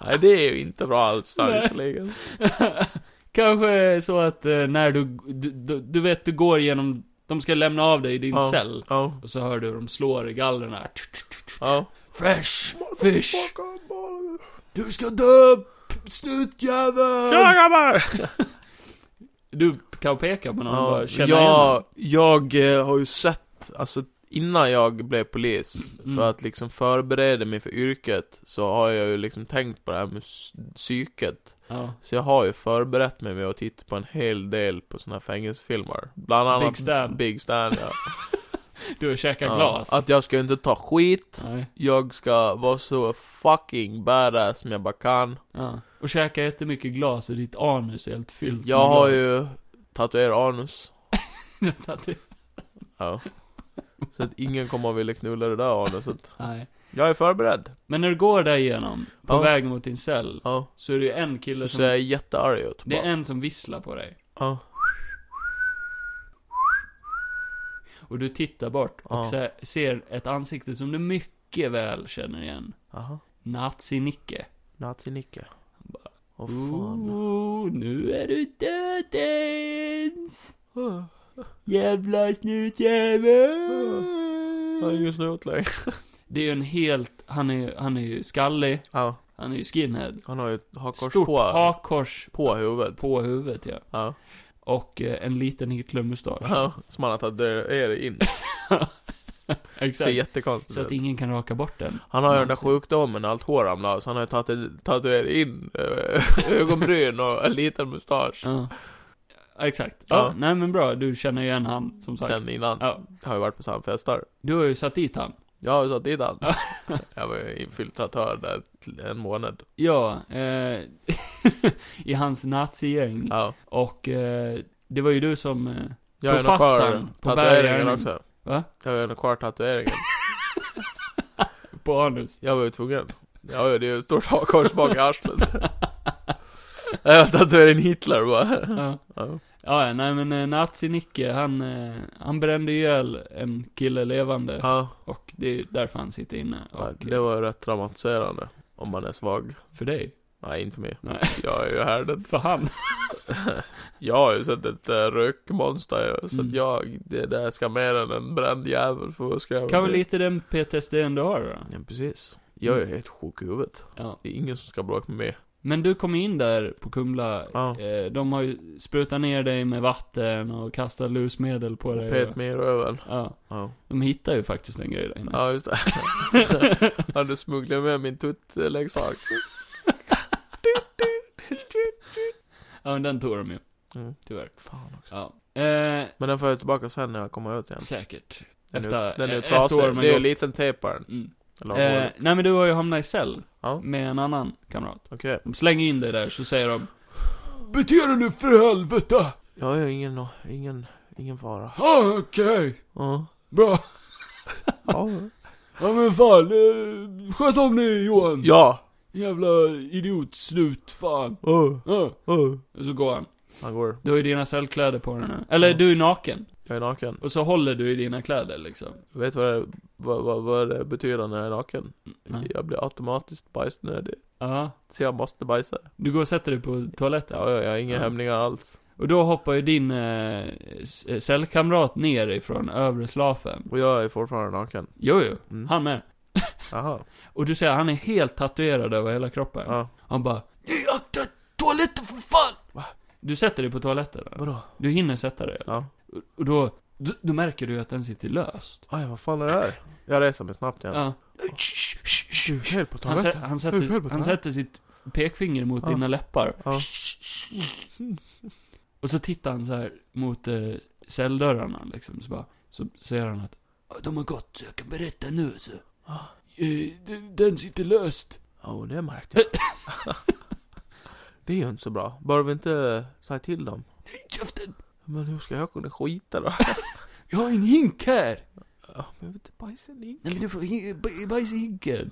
S1: Nej, det är ju inte bra alls där
S2: Nej.
S1: visserligen.
S2: Kanske så att eh, när du, du, du, du vet, du går igenom, de ska lämna av dig i din
S1: Ja.
S2: cell.
S1: Ja,
S2: Och så hör du hur de slår i gallren här.
S1: ja.
S2: Fresh fish.
S1: Du ska dö, snutjävel!
S2: grabbar! Du kan peka på någon och bara känna igen
S1: jag, jag eh, har ju sett, alltså innan jag blev polis,
S2: Mm.
S1: för att liksom förbereda mig för yrket, så har jag ju liksom tänkt på det här med s- psyket.
S2: honom.
S1: Så jag har ju förberett mig med att titta på en hel del på såna här fängelsefilmer. Bland annat
S2: Big Stan.
S1: Big Stan, ja.
S2: Ja. Du käkar
S1: ja.
S2: glas.
S1: Att jag ska inte ta skit,
S2: Nej.
S1: jag ska vara så fucking badass som jag bara kan.
S2: Ja. Och käka jättemycket glas och ditt anus är helt fyllt
S1: Jag
S2: med
S1: har
S2: glas.
S1: ju tatuerat anus. Ja. Så att ingen kommer att vilja knulla det där anuset.
S2: Nej.
S1: Jag är förberedd.
S2: Men när du går där igenom, på
S1: Ja.
S2: väg mot din cell,
S1: Ja.
S2: så är det ju en
S1: Du
S2: kille som...
S1: ser jag jättearg ut.
S2: Det är
S1: bara.
S2: en som visslar på dig.
S1: Ja.
S2: Och du tittar bort och
S1: Ja.
S2: se- ser ett ansikte som du mycket väl känner igen.
S1: Jaha.
S2: Nazi-Nicke.
S1: Nazi-Nicke. Åh fan.
S2: Ooh, nu är du dödens! Jävla
S1: Jag är
S2: snutjävel!
S1: just nu utlägg.
S2: Det är ju en helt... Han är, han är ju skallig,
S1: Ja.
S2: han är ju skinhead.
S1: Han har ju ett hakkors
S2: Stort
S1: på,
S2: hakkors
S1: på huvudet.
S2: på huvudet ja.
S1: Ja.
S2: Och eh, en liten Hitlermustasch.
S1: ja. Som han har tatuerat in. Ser
S2: Exakt.
S1: jättekonstigt
S2: Så att
S1: ut.
S2: ingen kan raka bort den.
S1: Han har ju den där sjukdomen när allt hår ramlar av, så han har ju tatu- tatuerat in eh, ögonbryn och en liten mustasch.
S2: Ja. Ja, Exakt. Ja.
S1: Ja.
S2: Nej men bra, du känner ju igen han, som sagt.
S1: Sen innan.
S2: Ja.
S1: Jag har ju varit på samma festar.
S2: Du har ju satt dit han.
S1: Jag har ju satt dit han. Jag var ju infiltratör där till en månad.
S2: Ja, eh, i hans nazigäng.
S1: Ja.
S2: Och eh, det var ju du som... Eh,
S1: Jag
S2: På
S1: är nog kvar
S2: fastan, på
S1: tatueringen
S2: bergaren.
S1: också.
S2: Va?
S1: Jag är nog kvar tatueringen.
S2: på anus.
S1: Jag var ju tvungen. Ja, ja, det är ju ett stort hakkors bak i arslet. Jag tatuerade in Hitler bara.
S2: Ja.
S1: Mm. Ja.
S2: Ja, ja, nej men eh, Nazi-Nicke, han, eh, han brände ihjäl en kille levande.
S1: Ja,
S2: Och det är ju därför han sitter inne. Och,
S1: ja, det var ju rätt traumatiserande. Om man är svag.
S2: För dig?
S1: Nej, inte mig.
S2: Nej.
S1: Jag är ju härden.
S2: För han?
S1: Jag har ju sett ett äh, rökmonster ju, så
S2: Mm.
S1: att jag, det där ska mer än en bränd jävel för att skriva
S2: Kan väl lite den PTSD du har då?
S1: Ja, precis. Jag är helt sjuk i huvudet.
S2: Ja.
S1: Det är ingen som ska bråka med mig.
S2: Men du kom in där på Kumla.
S1: Ja.
S2: Eh, de har ju sprutat ner dig med vatten och kastat lusmedel på dig.
S1: Och pet mig i röven.
S2: Ja.
S1: Ja.
S2: De hittar ju faktiskt en grej där inne.
S1: Ja, just det. Jag hade smugglat med min tuttleksak.
S2: Ja, men den tog de ju.
S1: Mm.
S2: Tyvärr.
S1: Fan också.
S2: Ja. Eh,
S1: Men den får jag tillbaka sen när jag kommer ut igen.
S2: säkert.
S1: Den
S2: Efter
S1: är, den är ju
S2: ett
S1: trasig.
S2: år med
S1: Det är ju
S2: gott.
S1: en liten tejp på den.
S2: Mm.
S1: Eller
S2: Eh,
S1: hålet.
S2: nej men du har ju hamnat i cell.
S1: Ja.
S2: Med en annan kamrat.
S1: Okej.
S2: De slänger in dig där så säger de Bete dig nu för helvete!
S1: Jag har ju ingen, ingen, ingen fara.
S2: Ja, okej.
S1: Ja.
S2: Bra.
S1: Ja.
S2: Ja men fan, eh, sköt om dig Johan.
S1: Ja.
S2: Jävla idiot, slut, fan.
S1: Oh,
S2: Ja.
S1: oh.
S2: Och så går han.
S1: Han går.
S2: Du har ju dina cellkläder på dig nu. Eller
S1: Ja.
S2: du är naken.
S1: Jag är naken.
S2: Och så håller du i dina kläder liksom.
S1: Vet du vad det, vad, vad, vad det betyder när jag är naken?
S2: Nej.
S1: Jag blir automatiskt bajsnödig.
S2: Ja.
S1: Så jag måste bajsa.
S2: Du går och sätter dig på toaletten.
S1: Ja, ja, jag har inga
S2: Ja.
S1: hämningar alls.
S2: Och då hoppar ju din eh, s- cellkamrat ner ifrån övre slafen.
S1: Och jag är fortfarande naken.
S2: Jo, jo.
S1: Mm.
S2: Han med.
S1: Jaha.
S2: Och du ser, han är helt tatuerad över hela kroppen.
S1: Ja.
S2: Han bara "Nej, Akta toaletten för fan! Du sätter dig på toaletten. va?
S1: Vadå?
S2: Du hinner sätta dig.
S1: Ja.
S2: Och då, då, då märker du att den sitter löst.
S1: Aj, vad fan är det här? Jag reser mig snabbt igen.
S2: Ja.
S1: Du är fel på
S2: Han, sä,
S1: toaletten. Hur
S2: han,
S1: fel på
S2: sätter, han
S1: toaletten?
S2: sätter sitt pekfinger mot
S1: Ja.
S2: dina läppar.
S1: Ja.
S2: Och så tittar han så här mot eh, celldörrarna liksom. Så, bara, så ser han att "Ja, de har gått, så jag kan berätta nu så. Eh, d- Den sitter löst.
S1: Ja, och det märkte jag. det är ju inte så bra. Bör vi inte säga till dem?
S2: Nej, Käften!
S1: Men hur ska jag kunna skita då?
S2: Jag har en hink här!
S1: Ja, men jag vill inte bajsa i en hink.
S2: Nej men du får hi- baj- bajsa i hinken.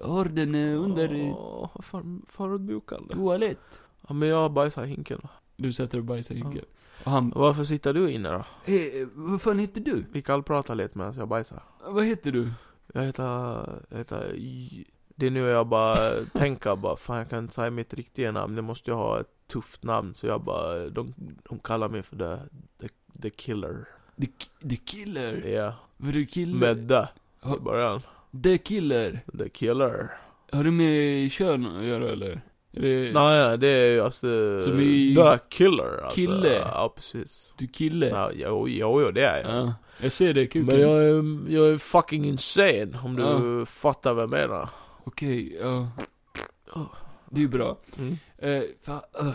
S2: Jag har den eh, under eh,
S1: Åh, vad för, förödmjukande.
S2: toalett.
S1: Ja, men jag bajsar i hinken.
S2: Du sätter och bajsar i
S1: Ja.
S2: hinken. Och han
S1: Varför sitter du inne då?
S2: Eh, vad fan heter du?
S1: Vi kallpratar lite medan jag bajsar.
S2: Vad heter du?
S1: Jag heter, jag heter... Det är nu jag bara tänker bara, fan jag kan inte säga mitt riktiga namn, det måste jag ha ett tufft namn. Så jag bara, de, de kallar mig för the, the, the killer.
S2: The, Ki- the Killer?
S1: Ja,
S2: Var du killer?
S1: med the
S2: Ha-
S1: i början.
S2: The Killer?
S1: The killer.
S2: Har du med kön att göra eller? Är det...
S1: Nej, nej, det är ju alltså...
S2: Som i-
S1: The Killer alltså.
S2: Kille.
S1: Ja, precis.
S2: Du kille? Ja.
S1: Ja, jo, jo, jo, det är jag.
S2: Jag ser det kuken.
S1: Men jag är, jag är fucking insane, om du
S2: Ja.
S1: fattar vad jag menar.
S2: Okej, ja. Det är ju bra.
S1: Mm.
S2: Eh, fa... eh.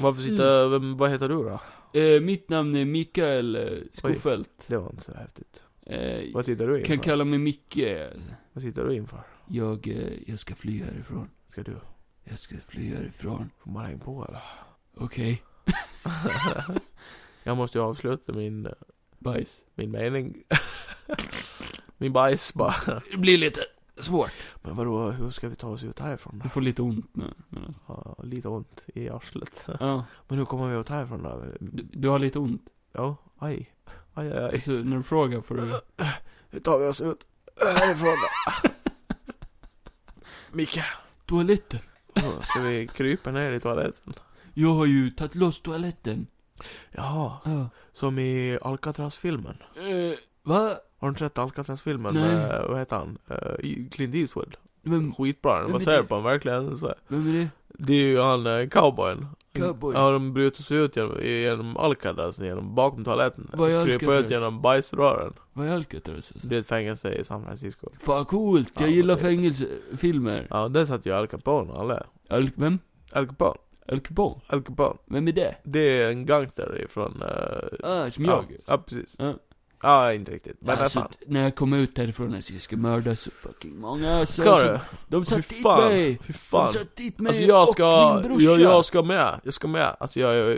S1: Varför
S2: Mm.
S1: sitter, vem, vad heter du då?
S2: Eh, mitt namn är Mikael eh, Skofelt.
S1: Det var inte så häftigt.
S2: Eh,
S1: Vad sitter du
S2: kan
S1: inför?
S2: kalla mig Micke.
S1: Vad sitter du inför?
S2: Jag, eh, jag ska fly härifrån.
S1: Ska du
S2: Jag ska fly härifrån.
S1: få maräng på eller?
S2: Okej.
S1: Jag måste ju avsluta min,
S2: Bajs.
S1: min mening. min bajs bara.
S2: Det blir lite svårt.
S1: Men vadå, hur ska vi ta oss ut härifrån då?
S2: Du får lite ont nu. men alltså.
S1: Ja, lite ont i arslet.
S2: Ja,
S1: Men hur kommer vi ut härifrån då?
S2: du, du har lite ont.
S1: Ja, aj. Aj, aj, aj.
S2: Så när du frågar får du...
S1: Hur tar vi oss ut härifrån då? Micke.
S2: Toaletten.
S1: Ja, Ska vi krypa ner i toaletten?
S2: Jag har ju tagit loss toaletten.
S1: Jaha,
S2: Ja.
S1: som i Alcatraz-filmen.
S2: Eh, va?
S1: Har du inte sett Alcatraz-filmen
S2: Nej.
S1: med, vad heter han, Eh, I- Clint Eastwood?
S2: Vem,
S1: Skitbra den,
S2: men
S1: vad säger
S2: det-
S1: på honom verkligen? Så. här.
S2: vem är det?
S1: Det är ju han eh, cowboyen.
S2: Cowboy.
S1: Ja, de bryter sig ut genom, genom Alcatraz, alltså genom bakom toaletten.
S2: Vad är
S1: Kryper ut
S2: Alcatraz?
S1: genom bajsrören.
S2: Vad är Alcatraz? Alltså?
S1: Det är ett fängelse i San Francisco.
S2: Fan coolt, jag
S1: Ja,
S2: gillar
S1: det-
S2: fängelsefilmer.
S1: Ja, där satt ju Al Capone och alla.
S2: Al, vem?
S1: Al Capone,
S2: Al Capone?
S1: Al Capone.
S2: Vem är det?
S1: Det är en gangster ifrån... eh,
S2: Ah, som
S1: ja,
S2: jag.
S1: ja, precis.
S2: Ja.
S1: Ja, inte riktigt. Men
S2: alltså,
S1: nästan.
S2: när jag kom ut därifrån alltså, jag ska mörda så fucking många alltså,
S1: Ska du?
S2: De
S1: Fy
S2: satt dit
S1: fan.
S2: mig!
S1: Fy
S2: De
S1: fan.
S2: satt dit mig
S1: Alltså jag
S2: och
S1: ska,
S2: min brorsa!
S1: jag, jag ska med, jag ska med. Alltså jag, jag,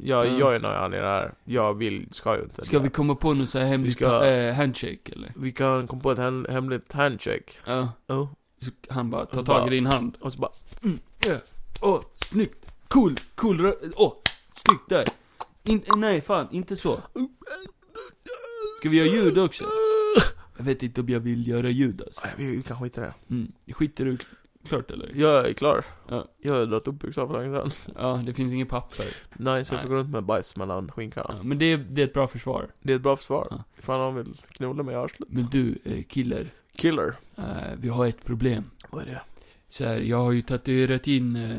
S1: jag,
S2: Mm.
S1: jag är nöjd i det här. Jag vill, ska ju inte
S2: Ska
S1: det.
S2: vi komma på någon sån här hemlig
S1: Vi ska-
S2: eh, handshake eller?
S1: Vi kan komma på ett hem, hemligt handshake.
S2: Ja.
S1: Ja.
S2: Så han bara tar
S1: Han
S2: tag i
S1: bara-
S2: din hand.
S1: Och så bara,
S2: Ja. Åh, snyggt! Cool, cool rö- Åh, snyggt där! In, nej, fan, inte så. Ska vi göra ljud också? Jag vet inte om jag vill göra ljud alltså.
S1: nej, vi, vi kan skita i det.
S2: Mm. Skiter du klart eller?
S1: Jag är klar.
S2: Ja.
S1: Jag har dragit upp byxorna för länge sedan.
S2: Ja, det finns inget papper.
S1: Nej, så jag
S2: Nej.
S1: får gå runt med bajs mellan skinkorna.
S2: Ja, men det är, det är ett bra försvar.
S1: Det är ett bra försvar.
S2: Ja.
S1: Ifall någon vill knulla mig i arslet.
S2: Men du, eh, killer.
S1: Killer.
S2: Eh, vi har ett problem.
S1: Vad är det?
S2: Så här, jag har ju tatuerat in... Eh,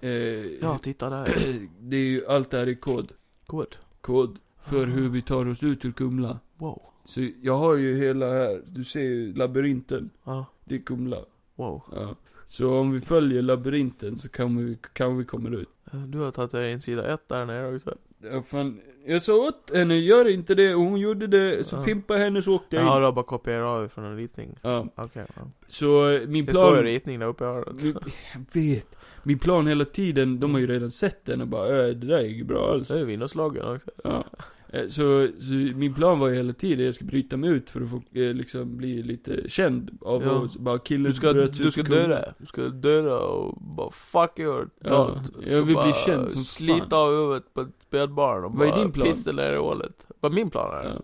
S2: eh,
S1: Ja, titta där.
S2: det är ju, allt det här är kod.
S1: God.
S2: Kod. För
S1: Ah.
S2: hur vi tar oss ut ur Kumla.
S1: Wow.
S2: Så jag har ju hela här, du ser ju labyrinten.
S1: Ja.
S2: Det är Kumla.
S1: Wow.
S2: Ja. Så om vi följer labyrinten så kan vi, kan vi komma ut.
S1: Eh, Du har tatuerat in sida ett där nere också.
S2: Ja, fan. Jag sa åt henne, gör inte det. Och hon gjorde det. Så
S1: Ja.
S2: fimpade henne så åkte jag in.
S1: Ja, du har bara kopierat av från en ritning.
S2: Ja,
S1: Okej. ja.
S2: så eh, min
S1: Det står ju
S2: plan...
S1: ritning där uppe i örat.
S2: Min, jag vet. Min plan hela tiden, de har ju redan sett den och bara äh, det där är ju bra alls.
S1: Det är ju vinnarslagen också.
S2: Ja. Eh, Så, så min plan var ju hela tiden, jag ska bryta mig ut för att få, eh, liksom bli lite känd av
S1: Ja.
S2: oss. Bara killen
S1: Du ska,
S2: bröt sig
S1: du
S2: ut
S1: ska
S2: ur Kumla.
S1: döda. Du ska döda och bara fuck your
S2: Ja,
S1: totalt.
S2: jag vill
S1: Bara
S2: bli känd som
S1: Slita
S2: fan.
S1: av huvudet på ett spädbarn och
S2: Vad är
S1: bara
S2: din plan?
S1: pissa ner i hålet. Vad min plan är?
S2: Ja.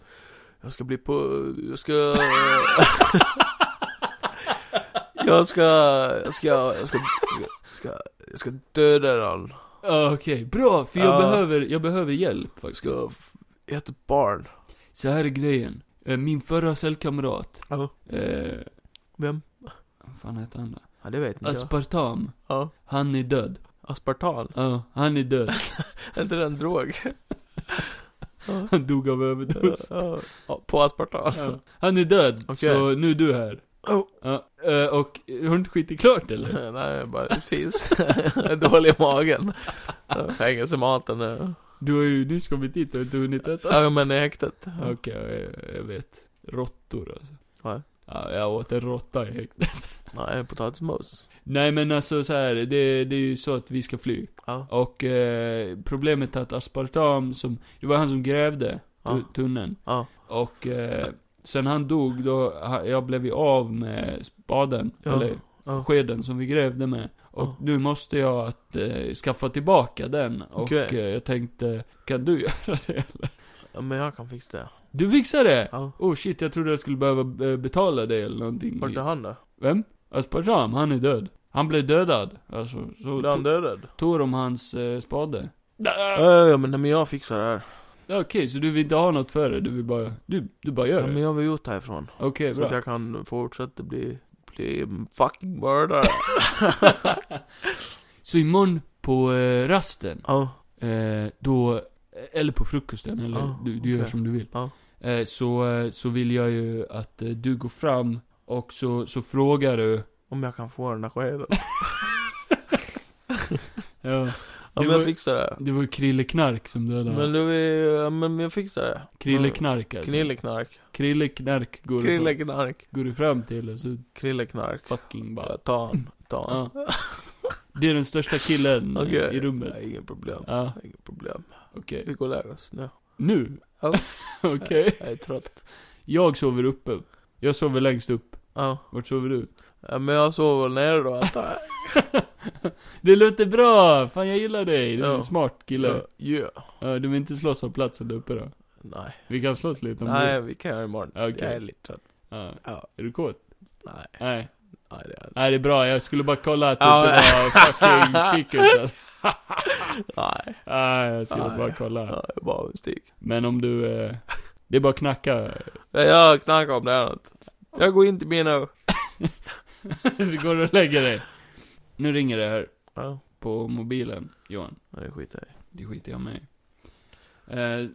S1: Jag ska bli på... Jag ska... jag ska... Jag ska... Jag ska... Jag ska, jag ska döda någon.
S2: Ja, Ah, Okej, bra! För jag,
S1: Ja.
S2: behöver, jag behöver hjälp
S1: Jag
S2: faktiskt.
S1: ska f- äta barn.
S2: Så här är grejen. Eh, Min förra cellkamrat,
S1: Ja.
S2: eh,
S1: Vem?
S2: vad fan heter han då?
S1: Ja, det vet inte jag.
S2: Aspartam.
S1: Ja.
S2: Han är död.
S1: Aspartan.
S2: Ja, han är död.
S1: Är inte det en drog?
S2: Han dog av överdos.
S1: Ja, ja. På aspartan.
S2: Ja. Han är död,
S1: Okej.
S2: så nu är du här.
S1: Oh.
S2: Ja, eh, och har du inte skitit klart eller?
S1: Nej, bara det finns. Jag är Dålig i magen. Fängelsematen. eh.
S2: Du har ju nyss kommit dit och inte hunnit äta.
S1: Ja, men i häktet.
S2: Okej, jag, jag vet. Råttor alltså.
S1: Ja.
S2: Ja, jag åt en råtta i häktet.
S1: Nej, potatismos.
S2: Nej men alltså så här, det, det är ju så att vi ska fly.
S1: Ja.
S2: Och eh, problemet är att aspartam som, det var han som grävde
S1: Ja.
S2: tu- tunneln.
S1: Ja.
S2: Och eh, sen han dog då, ha- jag blev ju av med spaden,
S1: Ja.
S2: eller
S1: Ja.
S2: skeden som vi grävde med. Och
S1: Ja.
S2: nu måste jag att, eh, skaffa tillbaka den. Och
S1: Okej.
S2: eh, jag tänkte, kan du göra det eller?
S1: Ja, Men jag kan fixa det.
S2: Du fixar det!
S1: Ja.
S2: Oh shit, jag trodde jag skulle behöva eh, betala det eller någonting.
S1: Vart är han då?
S2: Vem? Aspartam, han är död. Han blev dödad. Alltså, så
S1: Blev han
S2: to-
S1: dödad?
S2: tog de hans eh, spade. Ja,
S1: Ja, ja, men, nej, men jag fixar det här.
S2: Okej, så du vill inte ha något för det? Du vill bara, du, du bara gör
S1: Ja,
S2: det?
S1: men jag vill ut härifrån.
S2: Okej,
S1: Så att
S2: bra.
S1: jag kan fortsätta bli bli fucking mördare.
S2: Så imorgon på eh, rasten,
S1: Ja,
S2: eh, då, eller på frukosten, eller
S1: Ja,
S2: du, du gör
S1: okej.
S2: som du vill.
S1: Ja.
S2: Eh, så, eh, så vill jag ju att eh, du går fram och så, så frågar du.
S1: om jag kan få den där skeden.
S2: Ja,
S1: Ja, men
S2: var-
S1: jag fixar det.
S2: det var ju Krille Knark som dödade
S1: Men
S2: honom.
S1: du, är- ja, men jag fixar det.
S2: Krille Knark alltså.
S1: Knilleknark.
S2: Krille Knark går, du fram-
S1: Krilleknark.
S2: går du fram till och så
S1: Krilleknark.
S2: fucking bara.
S1: Ja, ta han. Ta han.
S2: Ja. Det är den största killen eh,
S1: Okej.
S2: i rummet.
S1: Nej, inga problem.
S2: Ja,
S1: Inga problem.
S2: okej.
S1: Vi går och lägger oss nu.
S2: Nu?
S1: Ja.
S2: okej.
S1: Jag är trött.
S2: Jag sover uppe. Jag sover längst upp.
S1: Ja.
S2: Vart sover du?
S1: Ja, men jag sover väl nere då antar jag.
S2: Det låter bra! Fan jag gillar dig, du är en
S1: Ja.
S2: smart kille.
S1: Ja, yeah.
S2: Ja. Du vill inte slåss om platsen där uppe då?
S1: Nej.
S2: Vi kan slåss lite om
S1: Nej,
S2: du...
S1: vi kan göra det imorgon.
S2: Okej.
S1: Jag är lite trött.
S2: Ja.
S1: Ja.
S2: Är du kåt?
S1: Nej,
S2: Nej.
S1: nej det är jag inte.
S2: Nej det är bra, jag skulle bara kolla att du
S1: Ja.
S2: inte var fucking fickus alltså.
S1: Nej,
S2: Nej, jag skulle
S1: Nej.
S2: bara kolla.
S1: jag är bara en stick.
S2: Men om du... Eh... Det är bara att knacka.
S1: Jag knackar om det är något. Jag går in till min nu.
S2: du går och lägger dig. Nu ringer det här
S1: Ja,
S2: på mobilen, Johan.
S1: ja, det skiter jag i.
S2: Det skiter jag med eh, eh,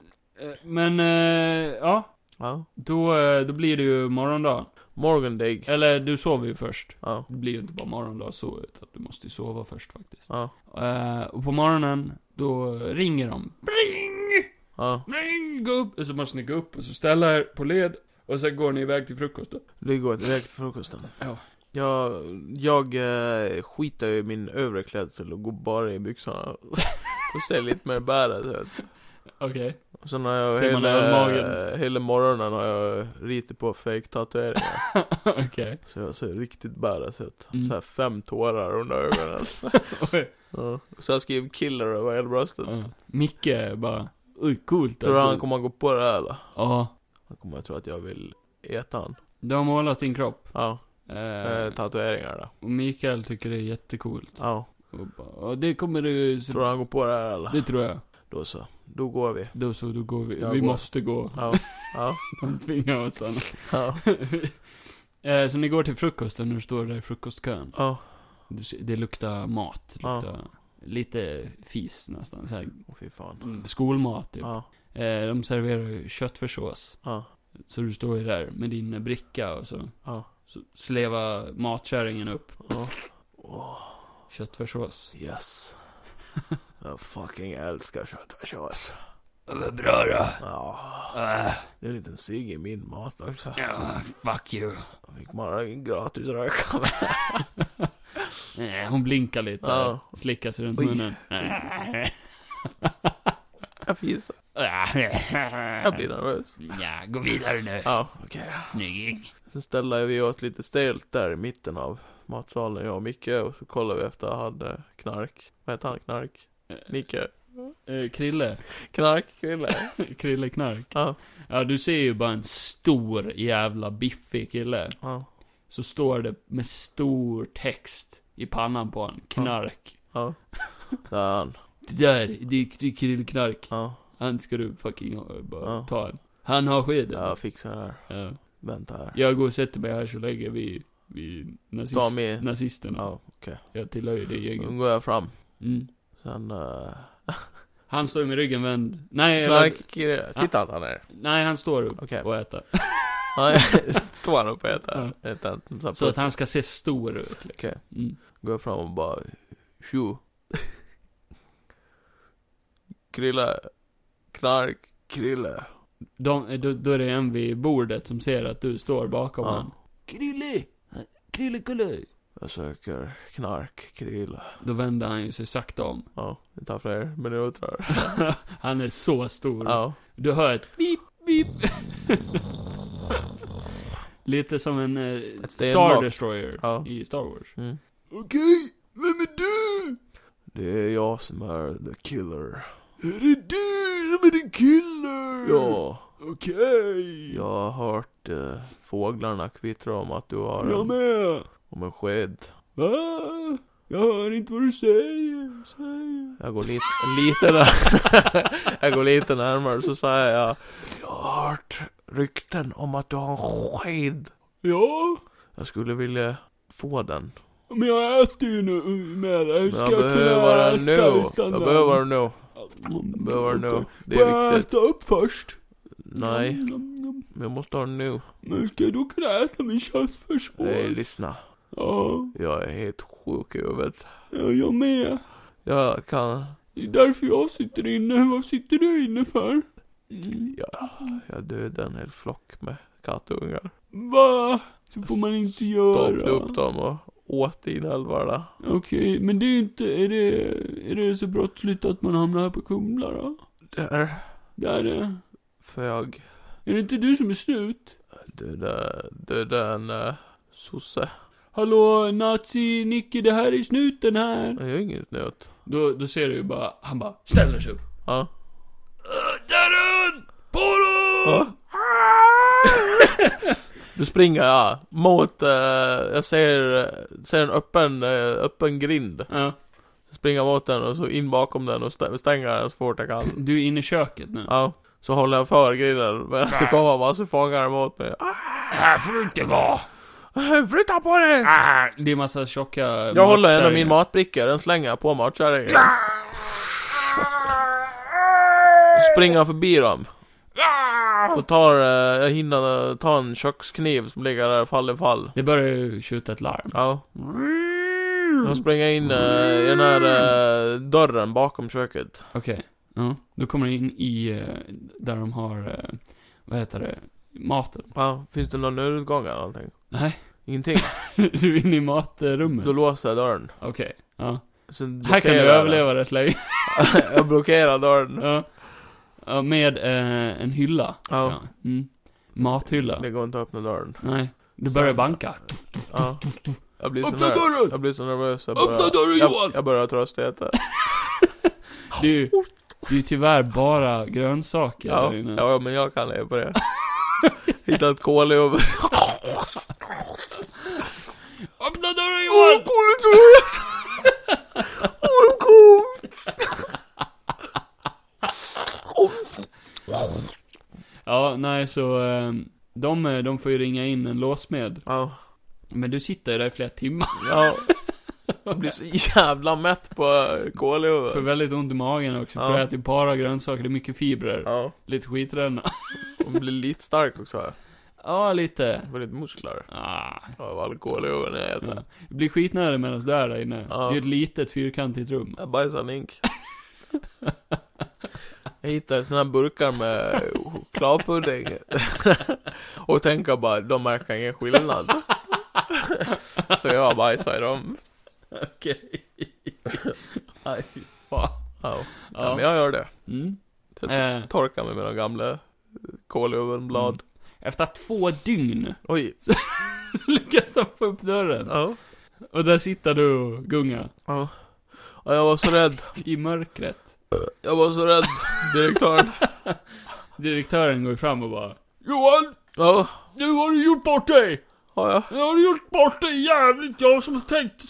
S2: Men, eh, ja.
S1: Ja.
S2: Då, eh, då blir det ju morgondag.
S1: Morgondig.
S2: Eller du sover ju först.
S1: Ja.
S2: Det blir ju inte bara morgondag så, utan du måste ju sova först faktiskt.
S1: Ja.
S2: Eh, och på morgonen, då ringer de. Bling!
S1: Ja.
S2: Bling! Gå upp! Och så måste ni gå upp och så ställa er på led. Och sen går ni iväg till frukosten.
S1: Det går direkt till frukosten.
S2: Ja.
S1: Jag, jag eh, skitar ju i min övre klädsel och går bara i byxorna. Och ser lite mer bäret ut.
S2: Okej.
S1: Och sen har jag
S2: Ser man över
S1: hela,
S2: magen?
S1: hela morgonen har jag ritit på fake tatueringar
S2: Okej.
S1: Så jag ser riktigt badass ut.
S2: Mm.
S1: Så här fem tårar under ögonen.
S2: Oj.
S1: ja. Så jag skriver 'killer' över hela bröstet.
S2: Ja. Micke bara. Oj, coolt
S1: Tror du han
S2: alltså.
S1: kommer att gå på det här eller?
S2: Ja.
S1: Han kommer att tro att jag vill äta han.
S2: Du har målat din kropp.
S1: Ja, eh,
S2: Eh,
S1: tatueringar då.
S2: och Mikael tycker det är jättecoolt.
S1: Ja.
S2: Och bara, "Ja, det kommer du...
S1: Tror du han går på det här eller?
S2: Det tror jag.
S1: Då så. Då går vi.
S2: Då så, då går vi.
S1: Jag
S2: vi
S1: går.
S2: måste gå.
S1: Ja. Ja.
S2: De tvingar oss annars.
S1: Ja.
S2: Eh, Så ni går till frukosten och du står där i frukostkön.
S1: Ja.
S2: Du ser- Det luktar mat. det
S1: Ja.
S2: Luktar lite fis nästan. Så här,
S1: Åh fy fan.
S2: mm, skolmat typ.
S1: Ja.
S2: Eh, De serverar ju köttfärssås.
S1: Ja.
S2: Så du står ju där med din bricka och så.
S1: Ja.
S2: Så slevar matkärringen upp
S1: Ja. Åh,
S2: köttfärssås.
S1: yes. Jag fucking älskar köttfärssås.
S2: Vad bra då.
S1: Ja.
S2: Ah,
S1: Det är en liten cigg i min mat också.
S2: ah, fuck you.
S1: Jag fick bara gratis röka.
S2: Eh, Hon blinkar lite.
S1: Ja.
S2: Slickar sig runt
S1: Oj.
S2: munnen. Ah.
S1: Jag fissar. Jag
S2: Jag
S1: blir nervös.
S2: Ja, gå vidare nu.
S1: Ja, okej.
S2: Snygging.
S1: Så ställde vi oss lite stelt där i mitten av matsalen, jag och Micke. Och så kollade vi efter han eh, Knark. Vad hette han? Knark? Nicke?
S2: Eh, Krille.
S1: Knark? Kille?
S2: Krille Knark.
S1: Ja.
S2: Ja, du ser ju bara en stor jävla biffig kille.
S1: Ja.
S2: Så står det med stor text i pannan på honom. Knark.
S1: Ja. Där är han.
S2: Det där, det är- det är Krille Knark.
S1: Ja.
S2: Han ska du fucking eh, bara
S1: Ja.
S2: ta en. Han har skeden.
S1: Jag fixar det här.
S2: Ja.
S1: Vänta här.
S2: Jag går och sätter mig här så länge vi, vi
S1: Ta
S2: nazist,
S1: med.
S2: nazisterna.
S1: Ja, okej.
S2: Jag tillhör ju det
S1: Nu
S2: gänget.
S1: går jag fram.
S2: Mm.
S1: Sen... Uh,
S2: Han står ju med ryggen vänd. Nej,
S1: Knark?
S2: eller-
S1: Sitter inte han ner?
S2: nej han står upp
S1: Okej.
S2: och äter.
S1: Nej, Står han upp och äter? Äter han som
S2: Så
S1: sagt.
S2: att han ska se stor ut. Liksom.
S1: Okej.
S2: Mm.
S1: Går jag fram och bara... Tjo. Krille. Knark. Krille.
S2: De, då, då är det en vid bordet som ser att du står bakom
S1: Ja.
S2: honom. Krille! Krille, kulle!
S1: Jag söker knark. Krille.
S2: Då vänder han ju sig sakta om.
S1: Ja, det tar fler minuter.
S2: han är så stor.
S1: Ja.
S2: Du hör ett beep, beep. Lite som en eh,
S1: stenblock.
S2: Star Destroyer
S1: Ja.
S2: i Star Wars.
S1: Mm.
S2: Okej, vem är du?
S1: Det är jag som är the killer.
S2: Är det du som är the killer?
S1: Ja.
S2: Okej.
S1: Jag har hört eh, fåglarna kvittra om att du har
S2: Jag
S1: en,
S2: med.
S1: om en sked.
S2: Va? Jag hör inte vad du säger. säger.
S1: Jag går lite, lite där. jag går lite närmare så säger jag. Jag har hört rykten om att du har en sked.
S2: Ja.
S1: Jag skulle vilja få den.
S2: Men jag äter ju nu med dig.
S1: Men
S2: Ska
S1: jag
S2: jag kunna
S1: behöver
S2: äta
S1: den nu. Jag
S2: utan den?
S1: behöver den nu.
S2: Mm,
S1: Jag behöver den nu.
S2: okej.
S1: Det
S2: Får
S1: är
S2: jag
S1: viktigt.
S2: äta upp först?
S1: Nej,
S2: Mm, mm, mm.
S1: men jag måste ha den nu.
S2: Men ska du kunna äta min köttfärssås?
S1: Nej, lyssna.
S2: Ja,
S1: Jag är helt sjuk i huvudet.
S2: ja, jag med.
S1: Jag kan...
S2: Det är därför jag sitter inne. Vad sitter du inne för? Mm.
S1: Ja, jag dödade en hel flock med kattungar.
S2: Va? Så får man inte
S1: Doppade
S2: göra.
S1: upp dem och åt inälvorna.
S2: Okej, men det är inte, är det, är det så brottsligt att man hamnar här på Kumla då?
S1: Där.
S2: Det är det.
S1: För jag
S2: Är det inte du som är snut?
S1: dödade, dödade en uh, sosse.
S2: Hallå, nazi-Nicke, det här är snuten här.
S1: Jag är inget nöt.
S2: Då, då ser du ju bara, han bara ställer sig upp.
S1: Ja.
S2: Äh, Där är han! På dem!
S1: Ja. Då springer jag mot, eh, jag ser, ser en öppen, eh, öppen grind.
S2: Ja.
S1: Så springer jag mot den och så in bakom den och stä- stänger den så fort jag kan.
S2: Du är inne i köket nu.
S1: Ja. Så håller jag för grinden medan det kommer bara så fångar den mot mig.
S2: Här får du inte vara!
S1: Ah, Flytta på dig!
S2: Det är massa tjocka
S1: Jag håller en av min matbricka, den slänger jag på matkärringen. Så Springer jag förbi dem. Och tar, eh, jag hinner eh, ta en kökskniv som ligger där fall i fall.
S2: Det börjar ju tjuta ett larm.
S1: Ja. Jag springer in eh, i den här eh, dörren bakom köket.
S2: Okej. Ja. Då kommer du in i, eh, där de har, eh, vad heter det, maten.
S1: Ja, finns det någon nödutgång eller någonting?
S2: Nej.
S1: Ingenting.
S2: Du är inne i
S1: Då
S2: matrummet.
S1: låser jag dörren.
S2: Okej. Ja.
S1: Sen
S2: Här kan
S1: blockerar
S2: du
S1: jag
S2: överleva rätt länge.
S1: den. jag blockerar dörren.
S2: Ja. ja. Med eh, en hylla.
S1: Ja.
S2: Mm. Mathylla.
S1: Det går inte att öppna dörren.
S2: Nej. Du börjar banka.
S1: Ja. Jag blir så
S2: Öppna
S1: nervös.
S2: dörren!
S1: Jag blir så nervös. Jag
S2: Öppna dörren, Johan!
S1: jag, jag börjar tröstäta.
S2: Det är ju, det är ju tyvärr bara grönsaker
S1: Ja,
S2: där inne.
S1: ja, men jag kan leva på det. Hitta ett kol i huvudet.
S2: Öppna dörren Johan! Ja, nej så, eh, de, eh, de får ju ringa in en låsmed.
S1: Ja.
S2: Men du sitter ju där i flera timmar.
S1: ja. Jag blir så jävla mätt på eh, kol i
S2: Får
S1: huvudet.
S2: väldigt ont i magen också, för
S1: Ja.
S2: du äter ju bara grönsaker, det är mycket fibrer.
S1: Ja.
S2: Lite skitränna.
S1: Hon blir lite stark också.
S2: Ja, lite.
S1: Får lite muskler.
S2: Ah.
S1: Av alkohol i ögonen när jag äter.
S2: Ja. Du blir skitnödig medan du är där inne.
S1: Ja.
S2: Det är ett litet fyrkantigt rum.
S1: Jag bajsar en hink. jag hittade såna här burkar med chokladpudding. och tänker bara, de märker ingen skillnad. Så jag bajsar i dem.
S2: Okej. Nej, fy fan.
S1: Ja. Ja.
S2: Ja.
S1: men jag gör det.
S2: Mm.
S1: Så jag
S2: Eh,
S1: torkar mig med de gamla kålövenblad.
S2: Mm. efter två dygn
S1: Oj.
S2: lyckas de få upp dörren.
S1: Ja.
S2: Och där sitter du och gungar.
S1: ja. Ja, jag var så rädd.
S2: I mörkret.
S1: Jag var så rädd. Direktören.
S2: Direktören går fram och bara Johan!
S1: Ja,
S2: Nu har du gjort bort dig!
S1: har jag.
S2: Nu har du gjort bort dig jävligt! Jag som tänkte,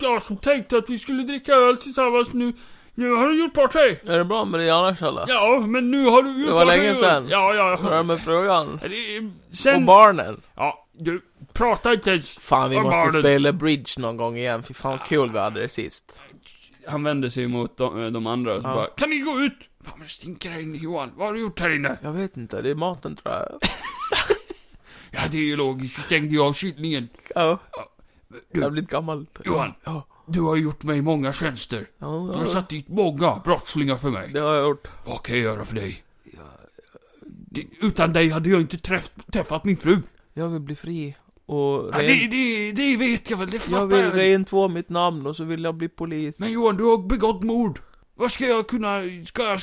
S2: jag som tänkte att vi skulle dricka öl tillsammans nu. Nu har du gjort bort dig!
S1: Är det bra med dig annars eller?
S2: Ja, men nu har du gjort
S1: Det var
S2: bort dig.
S1: länge sedan.
S2: Ja,
S1: Hur är det
S2: ja.
S1: med frugan?
S2: ja. Det är-
S1: Och
S2: Sen...
S1: barnen?
S2: Ja, du pratar inte ens.
S1: Fan, vi
S2: Och
S1: måste
S2: barnen.
S1: spela bridge någon gång igen. Fy fan vad kul vi hade det sist.
S2: Han vänder sig mot de, de andra och så
S1: Ja.
S2: bara Kan ni gå ut? Fan vad det stinker här inne Johan, vad har du gjort här inne?
S1: Jag vet inte, det är maten tror jag.
S2: Ja det är ju logiskt, jag stängde ju av kylningen.
S1: Ja,
S2: Du.
S1: jag har blivit gammal.
S2: Johan.
S1: Ja,
S2: Du har gjort mig många tjänster.
S1: ja,
S2: Du har
S1: ja.
S2: satt dit många brottslingar för mig.
S1: Det har jag gjort.
S2: Vad kan jag göra för dig? Det, utan dig hade jag inte träff, träffat min fru.
S1: Jag vill bli fri. Och
S2: Ja, det,
S1: ren...
S2: det, det vet jag väl, det
S1: Jag
S2: fattar
S1: vill
S2: jag. väl.
S1: rentvå mitt namn och så vill jag bli polis.
S2: Men Johan, du har begått mord. Vad ska jag kunna... Ska jag...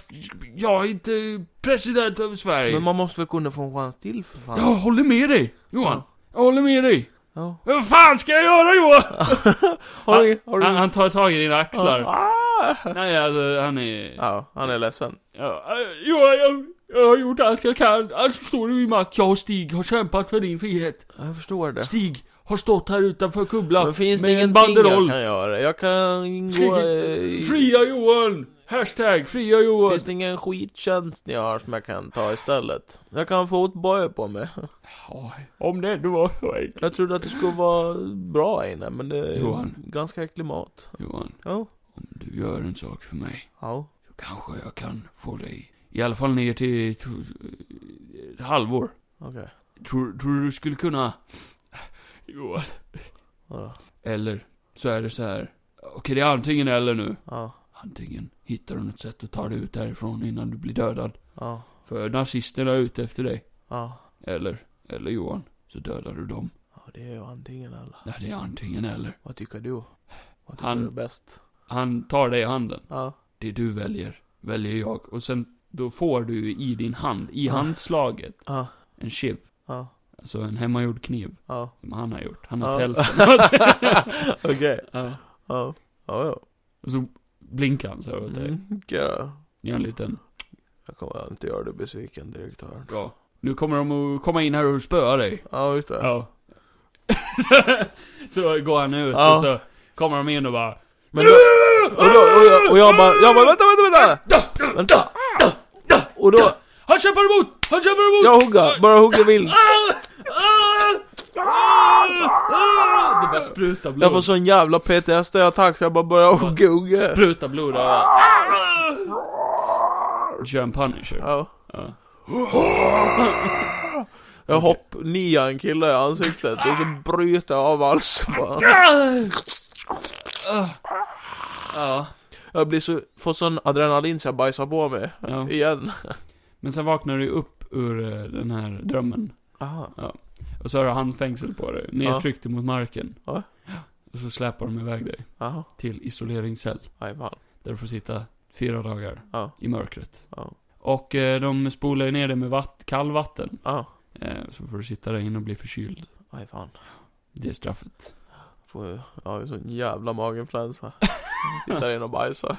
S2: Jag är inte president över Sverige.
S1: Men man måste väl kunna få en chans till för fan.
S2: Jag håller med dig, Johan. Jag håller med dig.
S1: Ja.
S2: Men Vad fan ska jag göra Johan?
S1: Har du, har du...
S2: Han, han tar tag i dina axlar.
S1: Ah!
S2: Nej, alltså han är...
S1: Ja, han är ledsen.
S2: Ja, eh, Johan, jag, jag har gjort allt jag kan. Allt som står i min makt. Jag och Stig har kämpat för din frihet.
S1: Jag förstår det.
S2: Stig har stått här utanför Kumla
S1: Men finns det
S2: med en
S1: ingenting jag
S2: banderoll.
S1: kan göra? Jag kan ingå
S2: Stig,
S1: i...
S2: Fria Johan! Hashtag fria Johan!
S1: Finns det ingen skittjänst ni har som jag kan ta istället? Jag kan ha fotboja på mig.
S2: Ja, om det du var så enkel.
S1: Jag trodde att det skulle vara bra inne, men det är
S2: Johan.
S1: ganska klimat.
S2: Johan,
S1: Ja.
S2: om du gör en sak för mig,
S1: Ja.
S2: så kanske jag kan få dig, i alla fall ner till to- ett halvår.
S1: Okej.
S2: Tror, tror du du skulle kunna... Johan.
S1: Ja.
S2: Eller, så är det så här. Okej, det är antingen eller nu.
S1: Ja.
S2: Antingen hittar du något sätt att ta dig ut härifrån innan du blir dödad.
S1: Ja.
S2: För nazisterna är ute efter dig.
S1: Ja.
S2: Eller, eller Johan. Så dödar du dem.
S1: Ja, det är ju antingen eller.
S2: Nej, det är antingen eller.
S1: Vad tycker du? Vad tycker
S2: Han-
S1: du är bäst?
S2: Han tar dig i handen.
S1: Ja.
S2: Det du väljer, väljer jag. Och sen, då får du ju i din hand, i handslaget,
S1: Ja.
S2: en shiv.
S1: Ja.
S2: Alltså en hemmagjord kniv.
S1: Ja.
S2: Som han har gjort. Han har
S1: Ja.
S2: tältat.
S1: Okej.
S2: ja.
S1: Ja. Ja, ja.
S2: Och så blinkar han så här åt dig.
S1: Mm, ja.
S2: Gör en liten...
S1: Jag kommer inte göra dig besviken, direktören.
S2: Ja. Nu kommer de att komma in här och spöa dig.
S1: Ja, just det.
S2: Ja. så, så går han ut
S1: Ja.
S2: och så kommer de in och bara...
S1: Men då, och, då, och, jag, och jag bara, jag bara vänta, vänta, vänta! Vänta! Och då,
S2: Han kämpar emot! Han kämpar emot! Ah!
S1: jag hugger, bara hugger vilt.
S2: Det bara sprutar blod.
S1: Jag får sån jävla PTSD-attack så jag bara börjar hugga, hugga.
S2: Sprutar blod överallt. Kör en punisher.
S1: Ja.
S2: Ja.
S1: Jag hopp, niar en kille i ansiktet och så bryter jag av halsen bara.
S2: ja.
S1: Jag blir så, får sån adrenalin så jag bajsar på mig.
S2: Ja.
S1: Igen.
S2: Men sen vaknar du ju upp ur eh, den här drömmen.
S1: Aha.
S2: Och så har du handfängsel på dig. Nedtryckt mot marken.
S1: Ja.
S2: Och så släpar de iväg dig
S1: Aha.
S2: till isoleringscell.
S1: Aj fan.
S2: Där du får sitta fyra dagar
S1: Ja.
S2: i mörkret.
S1: Ja.
S2: Och eh, de spolar ju ner dig med vatt, kallvatten.
S1: Ja.
S2: Eh, så får du sitta där inne och bli förkyld.
S1: Aj fan.
S2: Det är straffet.
S1: Får ju, jag har ju sån jävla maginfluensa. Sitter in och bajsar.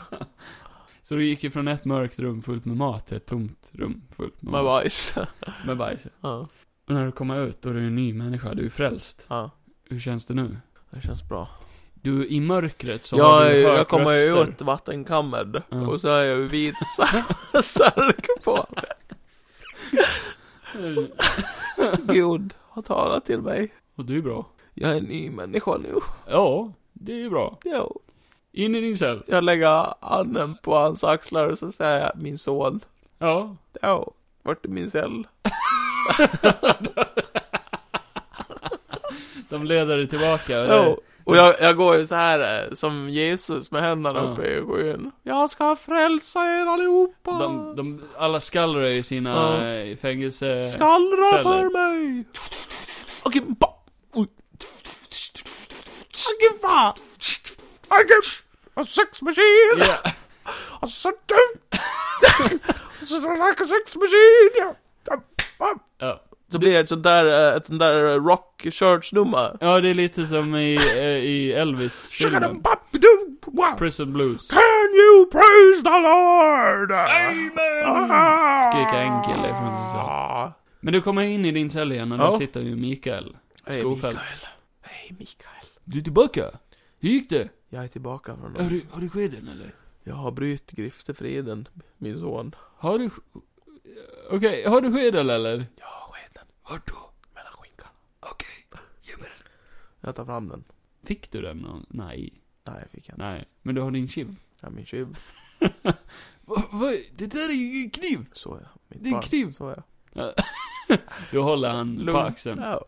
S2: Så du gick ju från ett mörkt rum fullt med mat till ett tomt rum fullt med,
S1: Med
S2: mat.
S1: bajs.
S2: med bajs.
S1: Ja.
S2: Och när du kommer ut, då är du en ny människa. Du är frälst.
S1: Ja.
S2: Hur känns det nu?
S1: Det känns bra.
S2: Du, i mörkret så har
S1: jag,
S2: du hört
S1: jag kommer ju
S2: röster.
S1: ut vattenkammed
S2: Ja.
S1: och så har jag ju vit sär- särk på. Gud har talat till mig.
S2: Och du är bra.
S1: Jag är en ny människa nu.
S2: Ja, det är ju bra.
S1: Jo.
S2: In i din cell.
S1: Jag lägger handen på hans axlar och så säger jag min son.
S2: Ja.
S1: Jo, vart är min cell?
S2: De leder dig tillbaka. eller?
S1: Jo. Och jag, jag går ju så här eh, som Jesus med händerna
S2: Ja.
S1: uppe i skyn. Jag ska frälsa er allihopa!
S2: De, de, alla skallrar i sina
S1: Ja.
S2: eh, fängelse...
S1: Skallra
S2: celler.
S1: för mig! Okej, ba... Oj. Okej, fan! Okej, a sex machine!
S2: Ja.
S1: A så dum! A så like a sex machine!
S2: Ja.
S1: Så blir det ett sånt där, eh, ett sånt där eh, rock church nummer. Mm.
S2: ja, det är lite som i, eh, i elvis filmen Prison Blues.
S1: Can you praise the Lord?
S2: Skrek en kille från sin cell.
S1: Ah.
S2: Men du kommer in i din cell igen och
S1: Ja.
S2: där sitter ju Mikael.
S1: Hej
S2: Skofält.
S1: Mikael. Hej Mikael.
S2: Du är tillbaka? Hur gick det?
S1: Jag är tillbaka från
S2: Har du, har du skeden eller?
S1: Jag har bryt griftefriden, min son.
S2: Har du... sk- Okej, har du skeden eller?
S1: Jag har skeden
S2: Vart då?
S1: mellan skinkan.
S2: Okej, ge mig den.
S1: Jag tar fram den.
S2: Fick du den? någon- Nej.
S1: Nej, jag fick jag inte.
S2: Nej. Men du har din chiv.
S1: Ja, min tjuv.
S2: Va, va, det där är ju en kniv!
S1: Så jag. Mitt
S2: Det är en
S1: barn.
S2: kniv.
S1: Så jag.
S2: Då håller han på
S1: Lugn.
S2: axeln.
S1: Ja.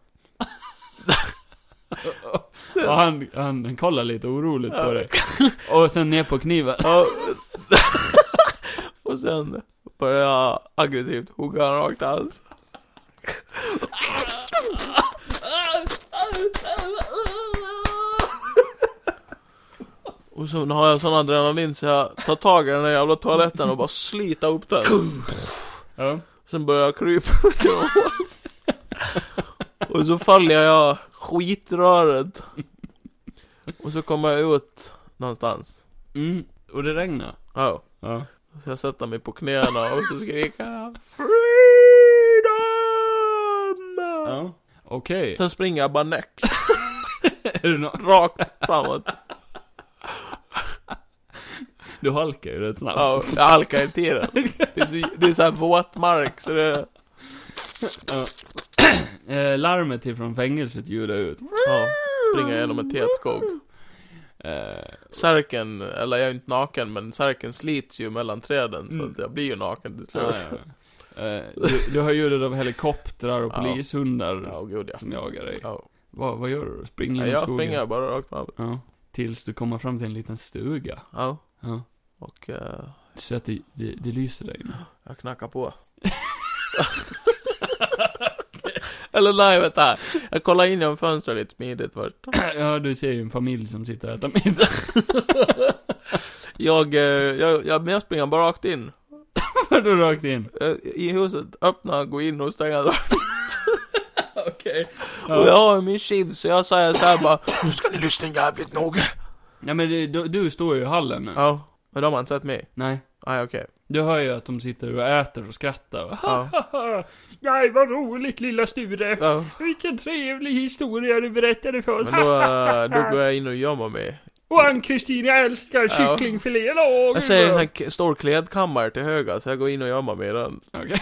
S2: Och han, han, han kollar lite oroligt på dig. Och sen ner på kniven.
S1: Ja. Och sen börjar jag aggressivt hugga honom rakt i hals. Och sen har jag sån adrenalin så jag tar tag i den där jävla toaletten och bara sliter upp den.
S2: Ja.
S1: Sen börjar jag krypa upp till honom. Och så faller jag i skitröret. Och så kommer jag ut någonstans.
S2: Mm. Och det regnar.
S1: Ja.
S2: Ja.
S1: Så jag sätter mig på knäna och så skriker jag Freedom!
S2: ja. Okej.
S1: Sen springer jag bara näck
S2: Är det nå-
S1: rakt framåt.
S2: Du halkar ju rätt snabbt.
S1: Ja, jag halkar hela tiden. Det är, så, det är så här våtmark, så det...
S2: Eh, larmet ifrån fängelset ljudar ut.
S1: Ja, springer genom ett helt kok.
S2: Eh,
S1: Särken, eller jag är inte naken, men särken slits ju mellan träden, så att jag blir ju naken till
S2: Mm. ja,
S1: slut.
S2: ja. Eh, du, du har ljudet av helikoptrar och
S1: Ja.
S2: polishundar
S1: Ja, gud ja.
S2: som jagar dig.
S1: ja.
S2: Vad, vad gör du? Springer
S1: ja
S2: genom
S1: jag
S2: skogen?
S1: springer bara rakt fram.
S2: Ja. Tills du kommer fram till en liten stuga.
S1: Ja,
S2: Ja.
S1: och eh,
S2: Du ser att det, det, det lyser där inne.
S1: jag knackar på. eller nej, vänta. Jag kollar in genom fönstret lite smidigt först.
S2: Ja, du ser ju en familj som sitter och äter middag.
S1: Jag, eh, jag, jag, men jag springer bara rakt in.
S2: du rakt in.
S1: Eh, I huset, öppna, gå in och stänga dörren.
S2: Okej.
S1: Och jag
S2: Ja.
S1: har min chiv, så jag säger så här bara Nu ska ni lyssna jävligt noga.
S2: ja, men det, du, du står ju i hallen nu.
S1: Ja, men de har inte sett mig.
S2: Nej.
S1: Nej, okej.
S2: Du hör ju att de sitter och äter och skrattar.
S1: Ja.
S2: Nej, vad roligt lilla Sture.
S1: Ja.
S2: Vilken trevlig historia du berättade för oss.
S1: Men då, eh, då går jag in och gömmer mig.
S2: Och Ann-Kristin, jag älskar kycklingfilé. Åh,
S1: Jag säger en sån här k- stor klädkammare till höger, så jag går in och gömmer mig i den.
S2: Okej.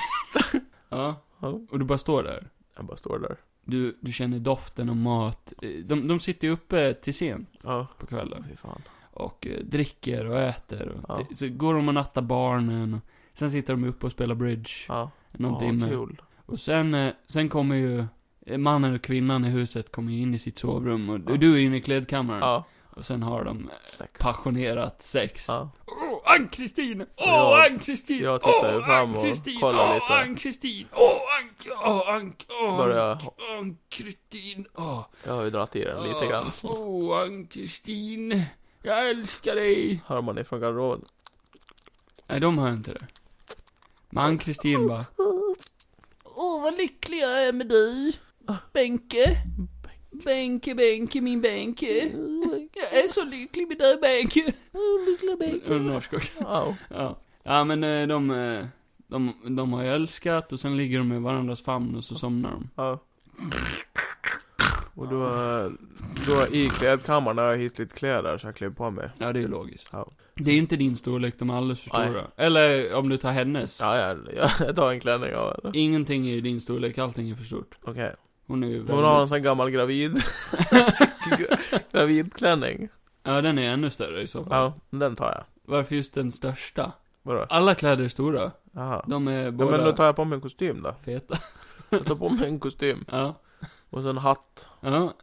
S2: ja.
S1: Ja.
S2: Och du bara står där.
S1: Jag bara står där.
S2: Du, du känner doften av mat. Eh, De, de sitter ju uppe till sent
S1: Ja,
S2: på kvällen.
S1: fy fan.
S2: Och eh, dricker och äter. Och
S1: Ja.
S2: det- Så går de och nattar barnen. Och sen sitter de uppe och spelar bridge.
S1: Ja,
S2: Någon
S1: ja,
S2: timme.
S1: kul.
S2: Och sen, eh, sen kommer ju eh, mannen och kvinnan i huset kommer ju in i sitt sovrum. Och du-
S1: Ja.
S2: du är inne i klädkammaren.
S1: Ja,
S2: Och sen har de eh,
S1: sex.
S2: passionerat sex.
S1: Ja.
S2: Åh, Ann-Kristin! Åh,
S1: Jag-
S2: Ann-Kristin!
S1: jag tittar ju
S2: Åh,
S1: fram och
S2: Ann-Kristin!
S1: kollar
S2: Åh,
S1: lite.
S2: Ann-Kristin! Åh, Ann- Åh, Ann- Åh,
S1: Börjar-
S2: Ann- Ann-Kristin! Åh,
S1: Jag har ju dragit i den lite grann.
S2: Åh, Ann-Kristin! Jag älskar dig!
S1: Hör man ifrån garderoben.
S2: Nej, de hör inte det. Men
S1: Oh,
S2: Ann-Kristin bara... Åh, vad lycklig jag är eh, med dig! Benke! Benke, Benke, min Benke! Jag är så lycklig med dig, Benke! Hon är norsk också.
S1: Ja,
S2: Ja. ja, men eh, de, eh, de, de har ju älskat och sen ligger de i varandras famn och så somnar de.
S1: ja. Och då, eh, då i klädkammaren har jag hittat lite kläder så jag klär på mig.
S2: Ja, det är ju logiskt.
S1: Ja.
S2: Det är inte din storlek, de är alldeles för
S1: Nej.
S2: stora. Eller om du tar hennes.
S1: Ja, jag, jag tar en klänning av henne.
S2: Ingenting är ju din storlek, allting är för stort.
S1: Okej.
S2: Hon är ju
S1: Hon har en
S2: väldigt...
S1: sån gammal gravid... gravidklänning.
S2: Ja, den är ännu större i så fall.
S1: Ja, den tar jag.
S2: Varför just den största?
S1: Vadå?
S2: Alla kläder är stora.
S1: Jaha.
S2: De är
S1: Ja,
S2: båda
S1: men då tar jag på mig en kostym då.
S2: feta.
S1: Jag tar på mig en kostym.
S2: Ja.
S1: Och sen hatt.
S2: Ja.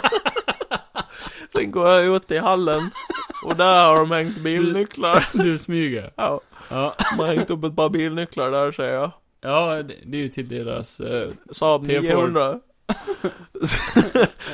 S1: Sen går jag ut i hallen. Och där har de hängt bilnycklar.
S2: Du smyger.
S1: Ja,
S2: Ja.
S1: de har hängt upp ett par bilnycklar där säger jag.
S2: Ja, det, det är ju till deras... eh,
S1: Saab
S2: T4.
S1: 900.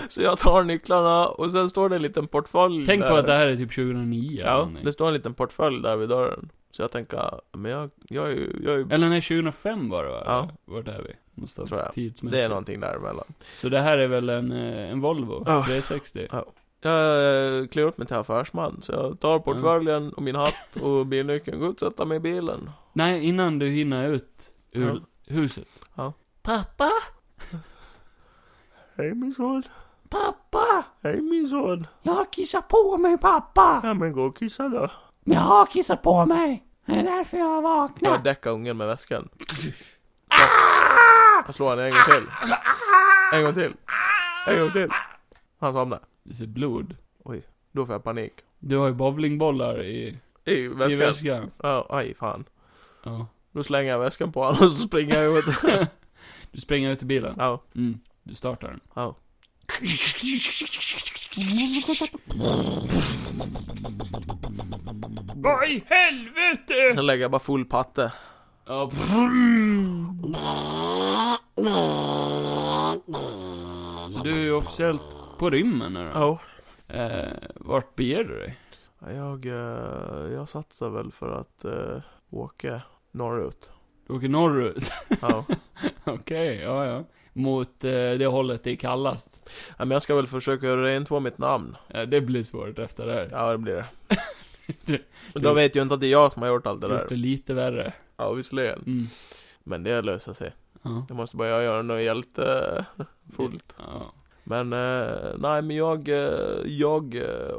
S1: Så jag tar nycklarna och sen står det en liten portfölj
S2: Tänk
S1: där.
S2: på att det här är typ 2009 eller
S1: Ja,
S2: någonting.
S1: det står en liten portfölj där vid dörren. Så jag tänker, men jag, jag är ju, jag är ju
S2: Eller nej, 2005 var det va?
S1: Ja.
S2: Vart är vi? Någonstans
S1: Tror jag.
S2: tidsmässigt.
S1: Det är någonting däremellan.
S2: Så det här är väl en, eh, en Volvo
S1: Ja.
S2: 360?
S1: Jag eh, klär upp mig till affärsman, så jag tar portföljen och min hatt och bilnyckeln, går ut och sätter mig i bilen.
S2: Nej, innan du hinner ut ur
S1: Ja.
S2: huset.
S1: Ja.
S2: Pappa?
S4: Hej min son.
S2: Pappa?
S4: Hej min son.
S2: Jag har kissat på mig pappa!
S4: Ja men gå och kissa då.
S2: Jag har kissat på mig! Det är därför jag har
S1: Jag
S2: vaknat.
S1: däckar ungen med väskan. Jag slår henne en gång till. En gång till. En gång till. Han somnade.
S2: Du ser blod.
S1: Oj, då får jag panik.
S2: Du har ju bowlingbollar i,
S1: I
S2: i
S1: väskan.
S2: väskan.
S1: Ja, aj fan.
S2: Ja.
S1: Då slänger jag väskan på honom och så springer jag ut.
S2: Du springer ut i bilen.
S1: Ja,
S2: Mm. Du startar den.
S1: ja.
S2: Vad i helvete!
S1: Sen lägger jag bara full patte.
S2: Ja, Så du är ju officiellt på rymmen nu då.
S1: Ja.
S2: Eh, vart beger du dig?
S1: Jag, eh, jag satsar väl för att eh, åka norrut.
S2: Du åker norrut?
S1: Ja.
S2: Okej, ja ja. Mot eh, det hållet det är kallast.
S1: Ja, men jag ska väl försöka rentvå mitt namn.
S2: Eh, det blir svårt efter det här.
S1: Ja, det blir det.
S2: Det-
S1: Men de vet ju inte att det är jag som har gjort allt det
S2: Det gjort det
S1: där.
S2: lite värre.
S1: Ja, visserligen.
S2: Mm.
S1: Men det löser sig.
S2: Ja.
S1: Det måste bara jag göra något hjälte eh, fullt.
S2: Ja.
S1: Men eh, nej men jag, eh, jag eh,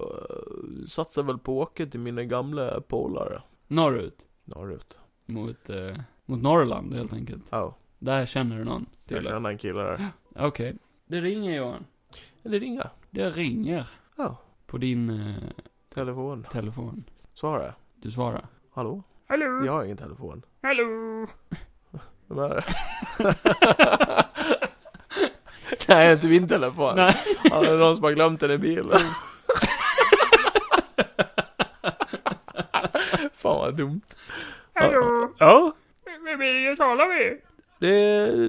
S1: satsar väl på att åka till mina gamla polare
S2: Norrut.
S1: norrut.
S2: Mot, eh, mot Norrland helt enkelt.
S1: Ja, oh,
S2: Där känner du någon.
S1: jag
S2: tydligen.
S1: känner en kille där.
S2: Okej. Det ringer Johan.
S1: Eller ringa.
S2: Det ringer.
S1: Ja, oh,
S2: På din eh,
S1: telefon.
S2: telefon.
S1: Svara.
S2: Du svarar.
S1: Hallå?
S4: Hallå?
S1: Jag har ingen telefon.
S4: Hallå?
S1: Vem är det? nej, inte min telefon.
S2: Nej.
S1: Ja, det är någon som har glömt den i bilen. Fan vad dumt.
S4: Hallå?
S1: Ja,
S4: Vem är det jag talar med?
S1: det,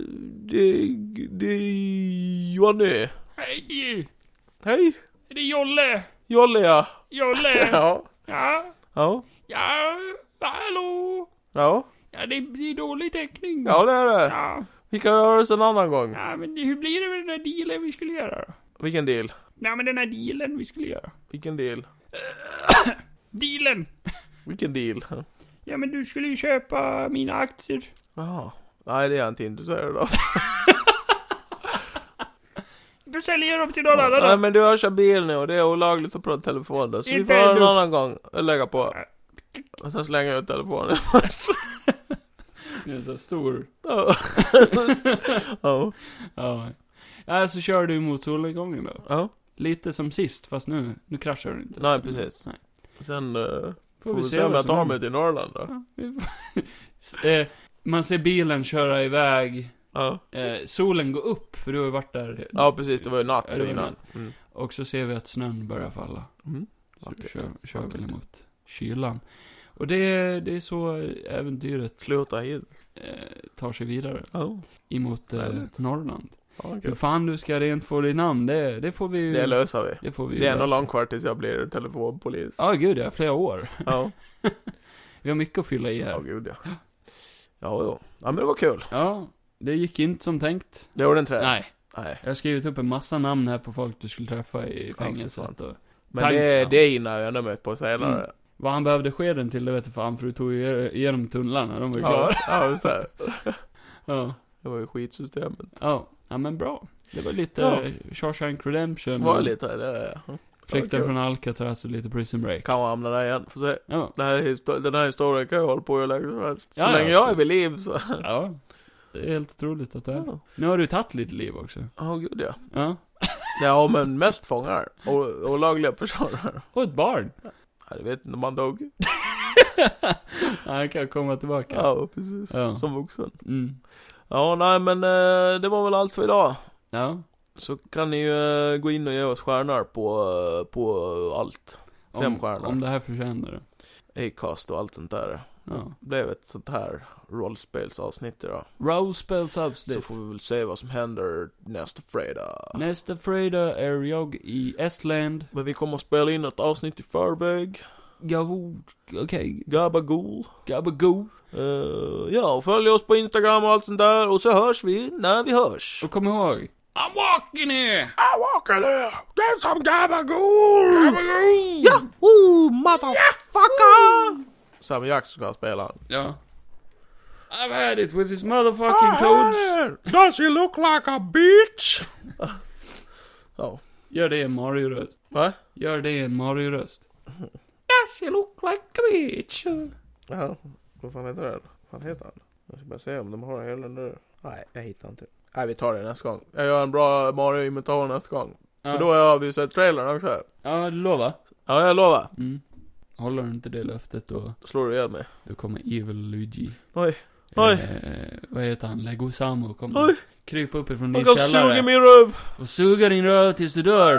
S1: det, det är Johnny.
S2: Hej!
S1: Hej,
S2: Det är Jolle!
S1: Jolle ja.
S2: Jolle!
S1: Ja,
S2: ja.
S1: ja,
S2: Ja. Hallå!
S1: ja,
S2: Ja, det, det är dålig täckning.
S1: ja det är det.
S2: ja.
S1: Vi kan göra det en annan gång.
S2: Ja, men hur blir det med den där dealen vi skulle göra då?
S1: Vilken deal?
S2: Nej, men den här dealen vi skulle göra.
S1: Vilken deal?
S2: Dealen!
S1: Vilken deal?
S2: Ja, men du skulle ju köpa mina aktier.
S1: Jaha. Nej, det är jag inte intresserad av.
S2: Då säljer jag dem till någon annan
S1: Nej,
S2: då.
S1: men du, jag kör bil nu och det är olagligt att prata i telefon då. Så vi
S2: Inte
S1: får ha en
S2: ändå.
S1: annan gång och lägga på. Och sen slänger jag ut telefonen.
S2: Du är så stor.
S1: Ja. Ja.
S2: Ja. Ja, så kör du mot solnedgången då.
S1: Ja.
S2: Lite som sist, fast nu, nu kraschar du inte.
S1: Nej, precis.
S2: Nej.
S1: Sen eh,
S2: Får,
S1: får vi se om
S2: vad
S1: jag
S2: som
S1: tar
S2: händer.
S1: mig till Norrland då.
S2: Ja, vi får- S- eh, Man ser bilen köra iväg.
S1: Ja.
S2: Eh, solen går upp, för du har ju varit där.
S1: Ja precis, det var ju natt
S2: Ja, det var
S1: innan.
S2: natt.
S1: Mm.
S2: Och så ser vi att snön börjar falla.
S1: Mm.
S2: Så
S1: Vackert.
S2: kör, kör
S1: Vackert.
S2: väl emot kylan. Och det, det är så äventyret
S1: Sluta hit.
S2: eh, tar sig vidare.
S1: Ja.
S2: Emot eh,
S1: Härligt.
S2: Norrland.
S1: Ja, okej.
S2: Hur fan du ska rent få ditt namn, det, det får vi ju...
S1: Det löser vi.
S2: det får vi ju
S1: Det är ändå
S2: lösa.
S1: långt kvar tills jag blir telefonpolis.
S2: Ja, gud ja. Flera år.
S1: Ja.
S2: Vi har mycket att fylla i
S1: Ja
S2: här.
S1: gud ja. Ja jo. Ja men det var kul.
S2: Ja, det gick inte som tänkt.
S1: Det gjorde inte det?
S2: Nej.
S1: Nej.
S2: Jag har skrivit upp en massa namn här på folk du skulle träffa i
S1: fy
S2: fängelset och...
S1: Men
S2: Tack.
S1: det,
S2: Ja.
S1: det hinner jag ändå med på senare.
S2: Mm. Vad han behövde skeden till, det vet jag fan, för du tog ju igenom tunnlarna, de var ju
S1: Ja,
S2: klara.
S1: ja just det.
S2: Ja.
S1: Det var ju skitsystemet.
S2: ja. Ja, men bra. Det var lite
S1: Ja.
S2: ja. Shawshank Redemption.
S1: Det var
S2: och
S1: lite det. ja.
S2: Mm. Flykten
S1: kul.
S2: från Alcatraz och lite Prison Break.
S1: Kan man hamna där igen. Får se.
S2: Ja.
S1: Den här, histo- den här historien kan jag hålla på hur länge som helst. Så
S2: Ja, ja,
S1: länge jag är
S2: absolut.
S1: vid liv så.
S2: ja. Det är helt otroligt att du är.
S1: Ja
S2: Nu har du tagit lite liv också.
S1: oh, gud ja.
S2: Ja.
S1: Ja men mest fångar. Och olagliga personer.
S2: Och ett barn.
S1: Ja, det vet inte om han dog.
S2: Ja, han kan komma tillbaka.
S1: Ja, precis.
S2: Ja.
S1: Som vuxen.
S2: Mm.
S1: Ja, nej men eh, det var väl allt för idag.
S2: Ja.
S1: Så kan ni ju eh, gå in och ge oss stjärnor på, eh, på allt. Fem
S2: om,
S1: stjärnor.
S2: Om det här förtjänar det.
S1: Acast och allt sånt där.
S2: Ja.
S1: Det blev ett sånt här rollspelsavsnitt idag.
S2: Rollspel
S1: Så
S2: Substance.
S1: får vi väl se vad som händer nästa fredag.
S2: Nästa fredag är jag i Estland.
S1: Men vi kommer att spela in ett avsnitt i förväg.
S2: Gavo... Okej.
S1: Gabagool.
S2: Gabago.
S1: Eh, ja, och följ oss på Instagram och allt sånt där. Och så hörs vi när vi hörs.
S2: Och kom ihåg. I'm walking here!
S1: I walk in here. Get some gabagool! Gabagool! Yahoo, motherfucker! Sam Jackson ska spela.
S2: Ja. I've had it with his motherfucking toads.
S1: Ah. Does he look like a bitch? Ja.
S2: Gör det i en Mario-röst.
S1: Va?
S2: Gör det i en Mario-röst. Does he look like a bitch?
S1: Ja. Vad fan heter den? Vad fan heter han? Jag ska bara se om de har hela den där. Nej, jag hittar inte. Nej, vi tar det nästa gång. Jag gör en bra Mario-imitation nästa gång.
S2: Ja,
S1: För då har vi ju sett trailern också.
S2: ja du lovar.
S1: Ja, jag lovar.
S2: Mm. Håller du inte det löftet då,
S1: Då slår du ihjäl mig.
S2: då kommer Evil Luigi.
S1: Oj. Oj.
S2: Eh, vad heter han? Leguizamo kommer
S1: Oj.
S2: krypa uppifrån
S1: Han
S2: din
S1: kan suga
S2: källare
S1: min röv!
S2: och suga din röv tills du dör.